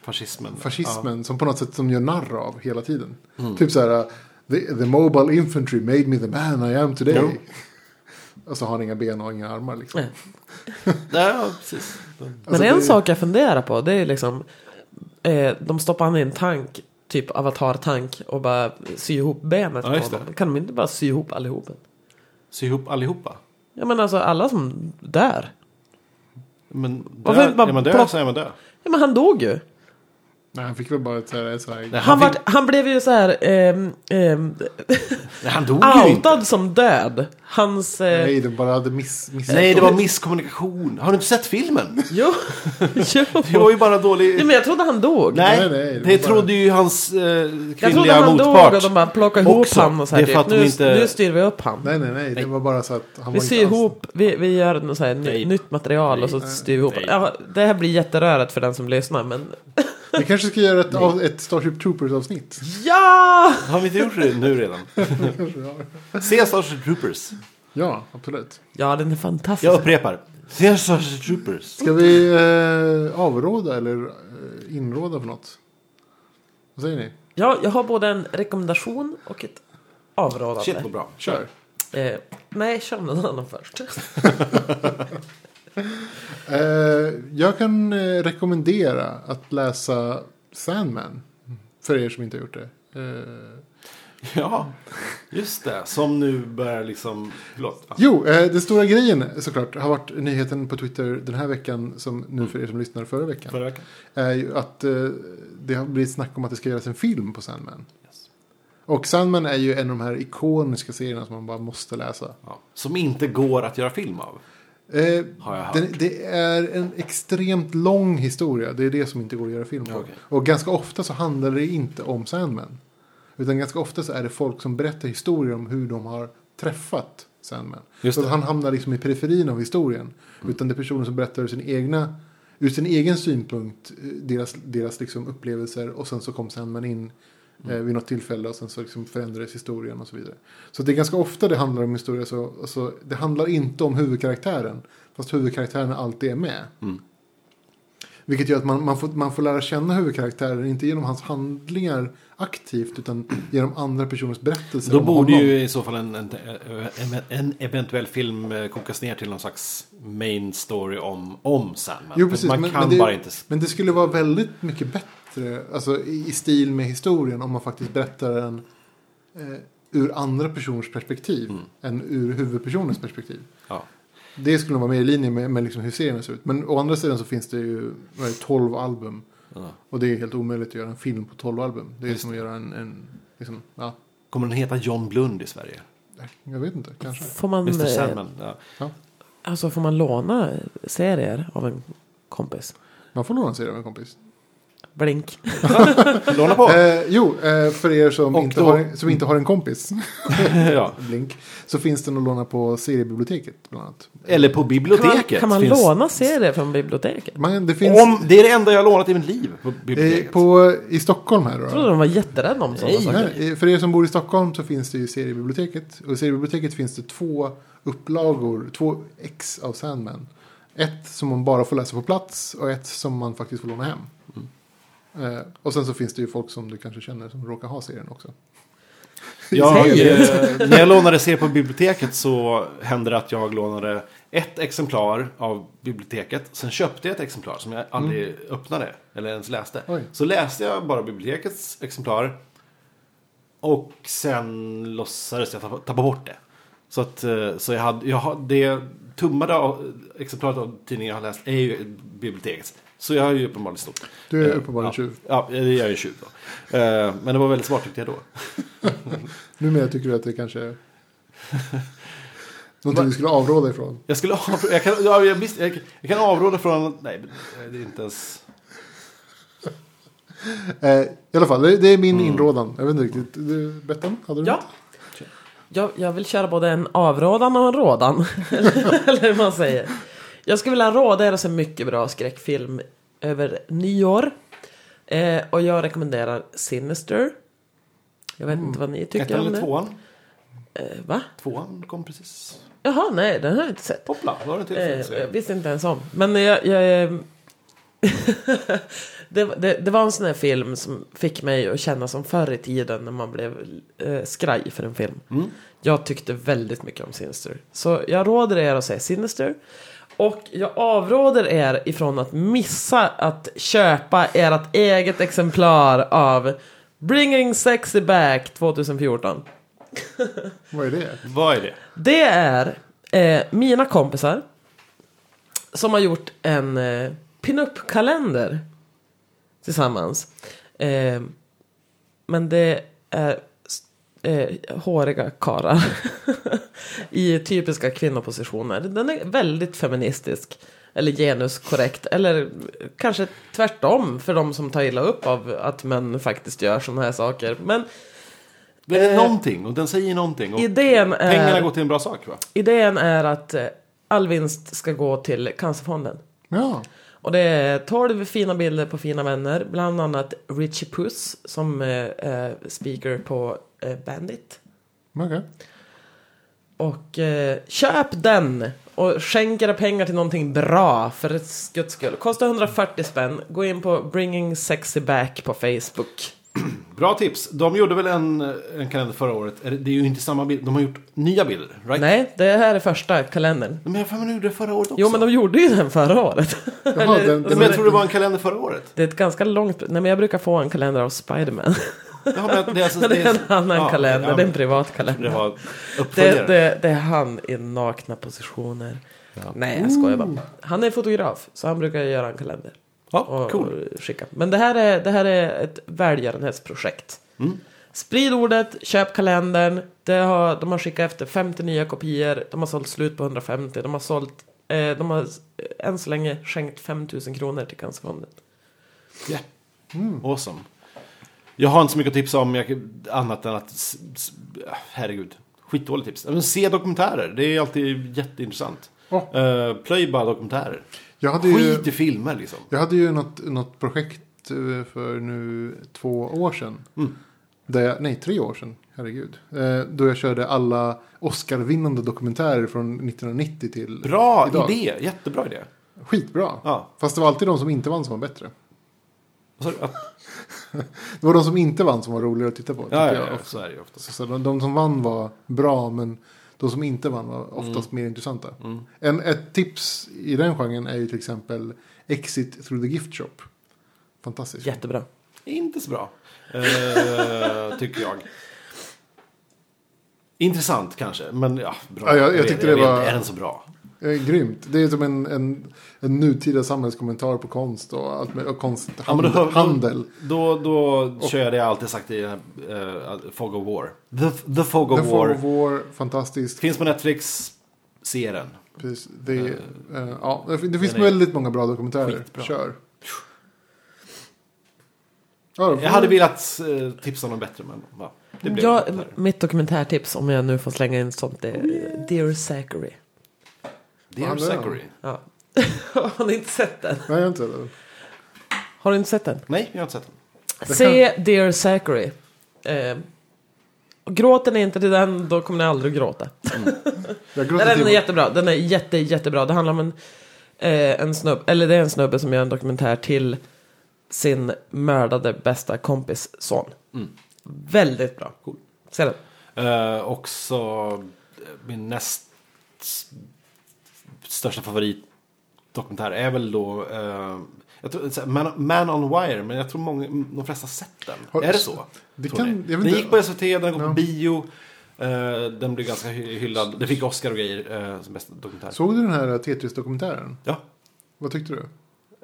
S5: Fascismen.
S4: fascismen som på något sätt som gör narr av hela tiden.
S5: Mm.
S4: Typ så här, the, the mobile infantry made me the man I am today. Och så har han inga ben och inga armar liksom.
S3: Nej.
S5: Ja, ja, precis. De-
S3: Men
S4: Alltså,
S3: en
S4: det-
S3: sak jag funderar på det är liksom eh, De stoppar han i en tank Typ avatar-tank och bara sy ihop benet
S5: Ja,
S3: på
S5: just det.
S3: honom. Kan de inte bara sy ihop allihop?
S5: Sy ihop allihopa.
S3: Ja men alltså alla som där.
S5: Men
S3: Varför
S5: dö,
S3: inte bara
S5: är man död
S3: plock-
S5: så är man död.
S3: Ja men han dog ju.
S4: Nej, han fick väl bara ett så här... Ett så här
S5: Nej,
S3: Han,
S5: han,
S3: vart,
S5: fick-
S3: han blev ju så här ehm, ehm,
S5: nej, han dog ju inte.
S3: outad som död. Hans... Eh,
S4: nej, de bara hade miss... miss
S5: Nej, det var misskommunikation. Har du inte sett filmen?
S3: jo. jo.
S5: Det var ju bara dålig...
S3: Nej, men jag trodde han dog.
S5: Nej,
S4: Nej, nej, det
S5: det,
S4: var bara-
S5: trodde ju hans eh,
S3: jag trodde
S5: kvinnliga
S3: han dog
S5: motpart.
S3: och de bara plockade ihop
S5: också.
S3: honom och så här
S5: Det är för
S3: typ.
S5: att de
S3: Nu,
S5: inte-
S3: nu styr vi upp han.
S4: Nej, nej, nej. Det var bara så att han
S3: Vi
S4: var
S3: syr
S4: inte alls-
S3: ihop, vi, vi gör något så här ny,
S5: Nej.
S3: nytt material och så styr vi ihop.
S5: Nej.
S3: Ja, det här blir jätterörigt för den som lyssnar men...
S4: Vi kanske ska göra ett, av, ett Starship Troopers-avsnitt.
S3: Ja!
S5: Har vi inte gjort det nu redan? Se Starship Troopers.
S4: Ja, absolut.
S3: Ja, den är fantastisk.
S5: Jag upprepar. Se Starship Troopers.
S4: Ska vi eh, avråda eller eh, inråda på något? Vad säger ni?
S3: Ja, jag har både en rekommendation och ett avrådande.
S5: Shit vad bra.
S4: Kör.
S3: Eh, nej, kör någon annan först.
S4: Eh, jag kan eh, rekommendera att läsa Sandman. För er som inte har gjort det. Eh,
S5: Ja, just det. Som nu börjar liksom... Förlåt. Ja.
S4: Jo, eh, den stora grejen såklart har varit nyheten på Twitter den här veckan som nu för er som lyssnar förra veckan.
S5: Förra veckan.
S4: Är ju att eh, det har blivit snack om att det ska göras en film på Sandman. Och Sandman är ju en av de här ikoniska serierna som man bara måste läsa.
S5: Ja. Som inte går att göra film av.
S4: Eh,
S5: Har jag hört.
S4: den, det är en extremt lång historia. Det är det som inte går att göra film på.
S5: Okej.
S4: Och ganska ofta så handlar det inte om Sandman. Utan ganska ofta så är det folk som berättar historier om hur de har träffat Sandman.
S5: Just
S4: så att
S5: det. Mm.
S4: han hamnar liksom i periferin av historien. Utan det är personer som berättar ur sin, egna, ur sin egen synpunkt. eh, Deras, deras liksom upplevelser. Och sen så kom Sandman in eh,
S5: Mm.
S4: vid något tillfälle. Och sen så liksom förändrades historien och så vidare. Så det är ganska ofta det handlar om historia. Så, och så, det handlar inte om huvudkaraktären. Fast huvudkaraktären alltid är med. Vilket gör att man, man, får, man får lära känna huvudkaraktären, inte genom hans handlingar aktivt, utan genom andra personers berättelser
S5: Då
S4: om
S5: borde
S4: honom.
S5: ju i så fall en, en, en- en eventuell film eh, kokas ner till någon slags main story om, om Sandman.
S4: Jo, precis,
S5: Man
S4: men,
S5: kan
S4: men, det,
S5: bara inte...
S4: men det skulle vara väldigt mycket bättre alltså, i, i stil med historien om man faktiskt berättar den eh, ur andra personers perspektiv
S5: Mm.
S4: än ur huvudpersonens perspektiv.
S5: Ja.
S4: Det skulle nog vara mer i linje med, med liksom hur serien ser ut. Men å andra sidan så finns det ju vad är det, 12 album. Och det är helt omöjligt att göra en film på 12 album. Det är som att göra en... en liksom, ja,
S5: Kommer den heta John Blund i Sverige?
S4: jag vet inte, kanske.
S3: Får man,
S5: Mr
S3: eh,
S5: Sandman. Ja.
S3: alltså, får man låna serier av en kompis?
S4: Man får låna en serie av en kompis.
S3: Blink.
S5: Låna på!
S4: Eh, jo, eh, för er som
S5: Och
S4: inte,
S5: då-
S4: har, en- som inte har en kompis, Eh.
S5: ja.
S4: blink, så finns den att låna på seriebiblioteket bland annat.
S5: Eller på
S3: Kan man,
S5: biblioteket.
S3: kan man
S5: finns-
S3: låna serier från biblioteket?
S4: Man, det finns
S5: Om, det är det enda jag har lånat i mitt liv. På
S4: eh,
S5: biblioteket.
S4: på, i Stockholm här då.
S3: Jag trodde de var jätterädda om sådana
S5: Nej.
S3: saker.
S4: Nej, eh, för er som bor i Stockholm så finns det ju seriebiblioteket. Och i seriebiblioteket finns det två upplagor, två ex av Sandman. Ett som man bara får läsa på plats och ett som man faktiskt får låna hem. Eh, och sen så finns det ju folk som du kanske känner som råkar ha serien också.
S5: jag,
S3: Säger
S5: eh, när jag lånade serier på biblioteket så hände det att jag lånade ett exemplar av biblioteket. Sen köpte jag ett exemplar som jag aldrig öppnade eller ens läste.
S4: Mm. Oj.
S5: Så läste jag bara bibliotekets exemplar. Och sen låtsades jag tappa, tappa bort det. Så, att, eh, så jag hade, jag hade, det tummade av, exemplaret av tidningen jag har läst är ju bibliotekets. Så jag har ju uppenbarligen snott.
S4: Du är
S5: Eh,
S4: uppenbarligen
S5: ja.
S4: tjuv.
S5: Ja, jag är ju tjuv då. Eh, Men det var väldigt smart tyckte jag då.
S4: Numera tycker du att det kanske är någonting du skulle avråda ifrån.
S5: Jag skulle avråda, jag kan, ja, jag, visst, jag, jag kan avråda från, nej det är inte ens,
S4: Eh, I alla fall, det, det är min
S5: Mm.
S4: inrådan. Jag vet inte riktigt. Du, Bettan, hade du
S3: Ja.
S4: något?
S3: Jag, jag vill köra både en avrådan och en rådan. Eller hur man säger. Jag skulle vilja råda er att se mycket bra skräckfilm över nyår. Eh, och jag rekommenderar Sinister. Jag vet inte vad ni tycker
S5: ettan
S3: om
S5: eller
S3: det.
S5: tvåan?
S3: Eh, va?
S5: Tvåan kom precis.
S3: Jaha, nej, den har jag inte sett.
S5: Hoppla, då har du en till film,
S3: Eh,
S5: säger
S3: jag
S5: jag.
S3: visste inte ens om. Men jag... jag eh, det, det, det var en sån här film som fick mig att känna som förr i tiden när man blev eh, skraj för en film. Jag tyckte väldigt mycket om Sinister. Så jag råder er att säga Sinister. Och jag avråder er ifrån att missa att köpa ert eget exemplar av Bringing Sexy Back 2014.
S4: Vad är det?
S3: eh,
S5: Vad är det?
S3: Det är eh, mina kompisar som har gjort en eh, pinup-kalender tillsammans. Eh, men det är s- eh, håriga karlar i typiska kvinnopositioner. Den är väldigt feministisk. Eller genuskorrekt. Eller kanske tvärtom för de som tar illa upp av att män faktiskt gör sådana här saker. Men
S5: Det
S3: eh,
S5: är någonting och den säger någonting. Och
S3: idén är...
S5: pengarna går till en bra sak va?
S3: Idén är att eh, all vinst ska gå till Cancerfonden.
S4: Ja.
S3: Och det är 12 fina bilder på fina vänner, bland annat Richie Puss som eh, är speaker på eh, Bandit.
S4: Okej.
S3: Och eh, köp den! Och skänk era pengar till någonting bra för guds skull. Kostar 140 spänn. Gå in på Bringing Sexy Back på Facebook.
S5: Bra tips. De gjorde väl en, en kalender förra året. Är Det det är ju inte samma bild. De har gjort nya bilder, right?
S3: Nej, det här är första kalendern.
S5: Men jag har för mig de gjorde det förra året också.
S3: Jo, men de gjorde ju den förra året.
S4: Jaha, den,
S5: Men
S4: den,
S5: alltså, jag tror det var en kalender förra året.
S3: Det är ett ganska långt... Nej, men jag brukar få en kalender av Spiderman.
S5: Ja, men det är alltså-
S3: Men det är en annan
S5: ja,
S3: kalender,
S5: ja,
S3: det är en
S5: men
S3: privat kalender.
S5: Det var
S3: Det,
S5: uppföljare.
S3: det, det är han i nakna positioner. Nej, jag skojar bara. Han är fotograf, så han brukar göra en kalender.
S5: Ja,
S3: Och,
S5: cool.
S3: och skicka. Men det här är, det här är ett välgörenhetsprojekt.
S5: Mm.
S3: Sprid ordet, köp kalendern. Det har, de har skickat efter 50 nya kopior. De har sålt slut på 150. De har sålt, eh, de har eh, än så länge skänkt 5 000 kronor till Cancerfonden.
S5: Yeah.
S4: Mm.
S5: Awesome. Jag har inte så mycket att tipsa om jag, annat än att... s- s- Herregud. Skitdåligt tips. Men se dokumentärer. Det är alltid jätteintressant.
S4: Ja.
S5: Eh, plöj bara dokumentärer.
S4: jag, hade ju,
S5: Skit i filmer liksom.
S4: jag hade ju något, något projekt eh, för nu två år sedan.
S5: Mm.
S4: Där jag, nej, tre år sedan. Herregud. Eh, då jag körde alla Oscar-vinnande dokumentärer från 1990 till
S5: Bra
S4: idag.
S5: idé. Jättebra idé.
S4: Skitbra.
S5: Ja.
S4: Fast det var alltid de som inte vann som var bättre.
S5: Vad sa du? Att-
S4: Det var de som inte vann som var roligare att titta på. tycker
S5: Ja, ja,
S4: jag.
S5: ja, så är det ju oftast.
S4: Så, så de, de som vann var bra, men de som inte vann var
S5: Mm.
S4: oftast mer intressanta. En, ett tips i den genren är ju till exempel Exit through the gift shop. Fantastiskt.
S3: Jättebra.
S5: Inte så bra. Eh, tycker jag. Intressant kanske, men ja, bra.
S4: Ja, jag- jag
S5: vet-
S4: tyckte det
S5: vet,
S4: var-
S5: Är den så bra?
S4: Eh, grymt. Det är som en, en, en nutida samhällskommentar på konst och, allt med, och
S5: Ja, men
S4: konsthandel.
S5: då, hör-
S4: handel.
S5: Då, då, kör jag det jag alltid sagt i den här, eh, Fog of War. The, the Fog of
S4: The
S5: War.
S4: Fall of War, fantastiskt.
S5: Finns på Netflix. Se den.
S4: Precis. Det, är, eh, ja, det fin- det finns
S5: den är
S4: väldigt många bra dokumentärer.
S5: skitbra.
S4: Kör. Ja, då får
S5: Jag hade
S4: vi-
S5: velat eh, tipsa någon bättre, men va? Det blev
S3: Ja,
S5: inte där.
S3: mitt dokumentärtips, om jag nu får slänga in sånt, det är eh, Dear Zachary.
S5: Dear
S4: handlar det om?
S5: Zachary.
S3: Ja. har ni inte sett den?
S4: Nej, jag har inte det.
S3: Har du inte sett den?
S5: Nej, jag har inte sett den.
S3: Se Dear Zachary. Eh, och gråter ni inte till den, då kommer ni aldrig gråta.
S4: Jag
S3: Nej,
S4: gråter
S3: den är
S4: till.
S3: jättebra. Den är jätte, jättebra. Det handlar om en, eh, en snubbe, eller det är en snubbe som gör en dokumentär till sin mördade bästa kompis son. Väldigt bra. Cool. Se den.
S5: Eh, också eh, min näst s- största favorit dokumentär är väl då eh, jag tror, så här, Man, Man on Wire, men jag tror många, de flesta har sett den.
S4: Har-
S5: är det så?
S4: Det
S5: Tror
S4: kan-
S5: ni?
S4: jag vet
S5: den
S4: inte.
S5: gick på SVT, den går på bio. Eh, den blev ganska hy- hyllad. Det fick Oscar och grejer eh, som bästa dokumentär.
S4: Såg du den här Tetris-dokumentären?
S5: Ja.
S4: Vad tyckte du?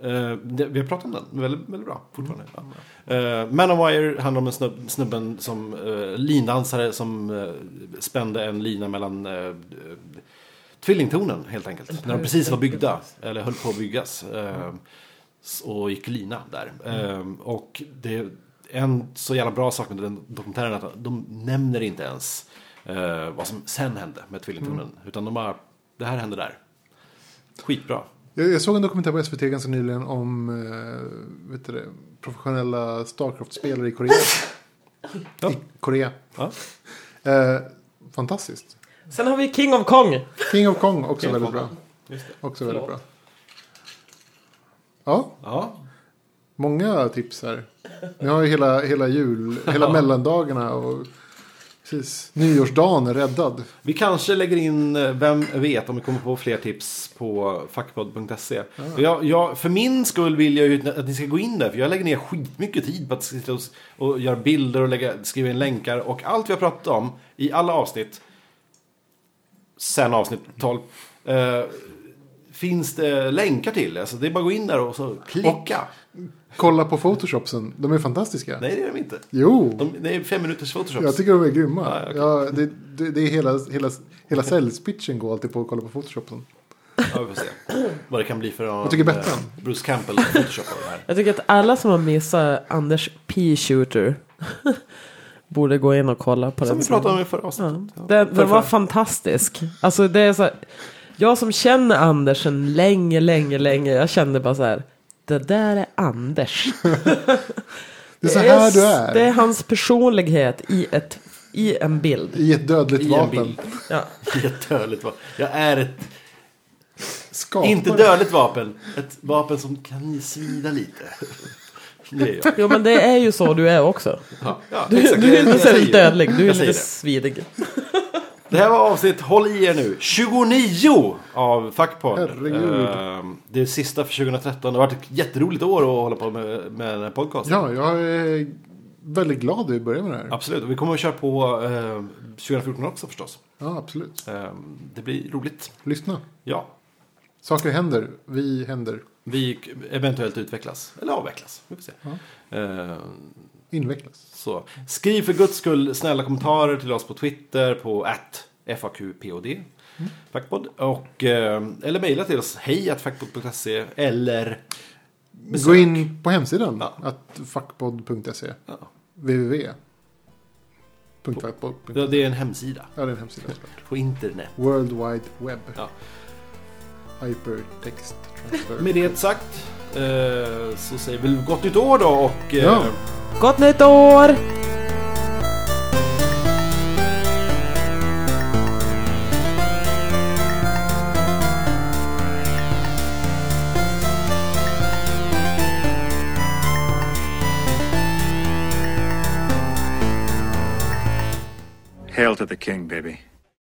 S5: Eh, det, vi har pratat om den, väldigt, väldigt bra fortfarande. Ja. Eh, Man on Wire handlar om en snubb, snubben som eh, lindansare som eh, spände en lina mellan eh, eh, tvillingtornen helt enkelt. När de precis var byggda, eller höll på att byggas. eh, s- och gick lina där. Eh, och det är en så jävla bra sak med den dokumentären att de nämner inte ens eh, vad som sen hände med tvillingtornen. Utan de bara, det här hände där. Skitbra.
S4: Jag, jag såg en dokumentär på SVT ganska nyligen om eh, vet du det, professionella Starcraft-spelare i Korea. I Korea.
S5: Ja.
S4: Eh, fantastiskt.
S3: Sen har vi King of Kong.
S4: King of Kong också
S5: King of
S4: väldigt
S5: Kong.
S4: bra.
S5: Just det.
S4: Också väldigt bra. Ja,
S5: Ja,
S4: många tips här. Ni har ju hela, hela jul, hela mellandagarna och precis, nyårsdagen är räddad.
S5: Vi kanske lägger in, eh, vem vet, om vi kommer på fler tips på fackpodd.se. Jag, jag, för min skull vill jag ju att ni ska gå in där, för jag lägger ner skitmycket tid på att sitta och, s- och göra bilder och lägga, skriva in länkar. Och allt vi har pratat om i alla avsnitt, sen avsnitt 12, eh, finns det länkar till. Alltså, det är bara att gå in där och så klicka.
S4: Kolla på photoshopsen, de är fantastiska.
S5: Nej, det är de inte.
S4: Jo,
S5: De, det är fem minuters Photoshop.
S4: jag tycker de är grymma.
S5: Ja, okej.
S4: ja, det, det, det är hela, hela, hela säljspitchen går alltid på att kolla på photoshopsen.
S5: Ja, vi får se vad det kan bli för
S4: Vad tycker Bettan?
S5: eh, Bruce Campbell Photoshop av det här.
S3: Jag tycker att alla som har missat Anders P. Shooter borde gå in och kolla på
S5: Som
S3: den.
S5: vi pratade om i förra avsnittet.
S3: Ja. Den, den var
S5: Förra.
S3: fantastisk. Alltså det är så här, jag som känner Anders sedan länge, länge, länge. Jag kände bara så här. Det där är Anders.
S4: Det är så här du är.
S3: Det är hans personlighet i, ett, i en bild.
S4: I ett dödligt
S5: I en
S4: vapen.
S5: bild.
S3: Ja.
S5: I ett dödligt vapen. Jag är ett,
S4: Skapar.
S5: inte dödligt vapen. Ett vapen som kan svida lite. Det är jag.
S3: Jo men det är ju så du är också.
S5: Ja, ja,
S3: Du,
S5: exakt.
S3: du är inte
S5: Jag säger
S3: särskilt
S5: det.
S3: dödlig, du är
S5: Jag säger
S3: lite
S5: det.
S3: svidig.
S5: Det här var avsnitt, håll i er nu, 29 av Fackpodd.
S4: Herregud.
S5: Ehm, Det är sista för 2013. Det har varit ett jätteroligt år att hålla på med, med den här podcasten.
S4: Ja, jag är väldigt glad att vi börjar med det här. Ja,
S5: Absolut, och vi kommer att köra på eh, 2014 också förstås.
S4: absolut.
S5: Ehm, Det blir roligt.
S4: Lyssna.
S5: Ja,
S4: Saker händer. Vi händer.
S5: vi k- eventuellt utvecklas, eller avvecklas. Vi får se. Ehm,
S4: Invecklas.
S5: Så. Skriv för guds skull snälla kommentarer till oss på Twitter på at FAQPOD. Fackpodd. Och, eh, eller mejla till oss hej fackpodd.se eller
S4: Gå in på hemsidan.
S5: Ja.
S4: Att fuckpod.se.
S5: ja,
S4: www. Fuckpod.
S5: det det är en hemsida
S4: Ja, det är en hemsida såklart.
S5: på internet.
S4: World Wide Web.
S5: Ja.
S4: Hypertext transfer.
S5: Med det sagt eh, så säger vi gott nytt år då och eh,
S4: Ja.
S3: Gott nytt år!
S8: Hail to the king, baby.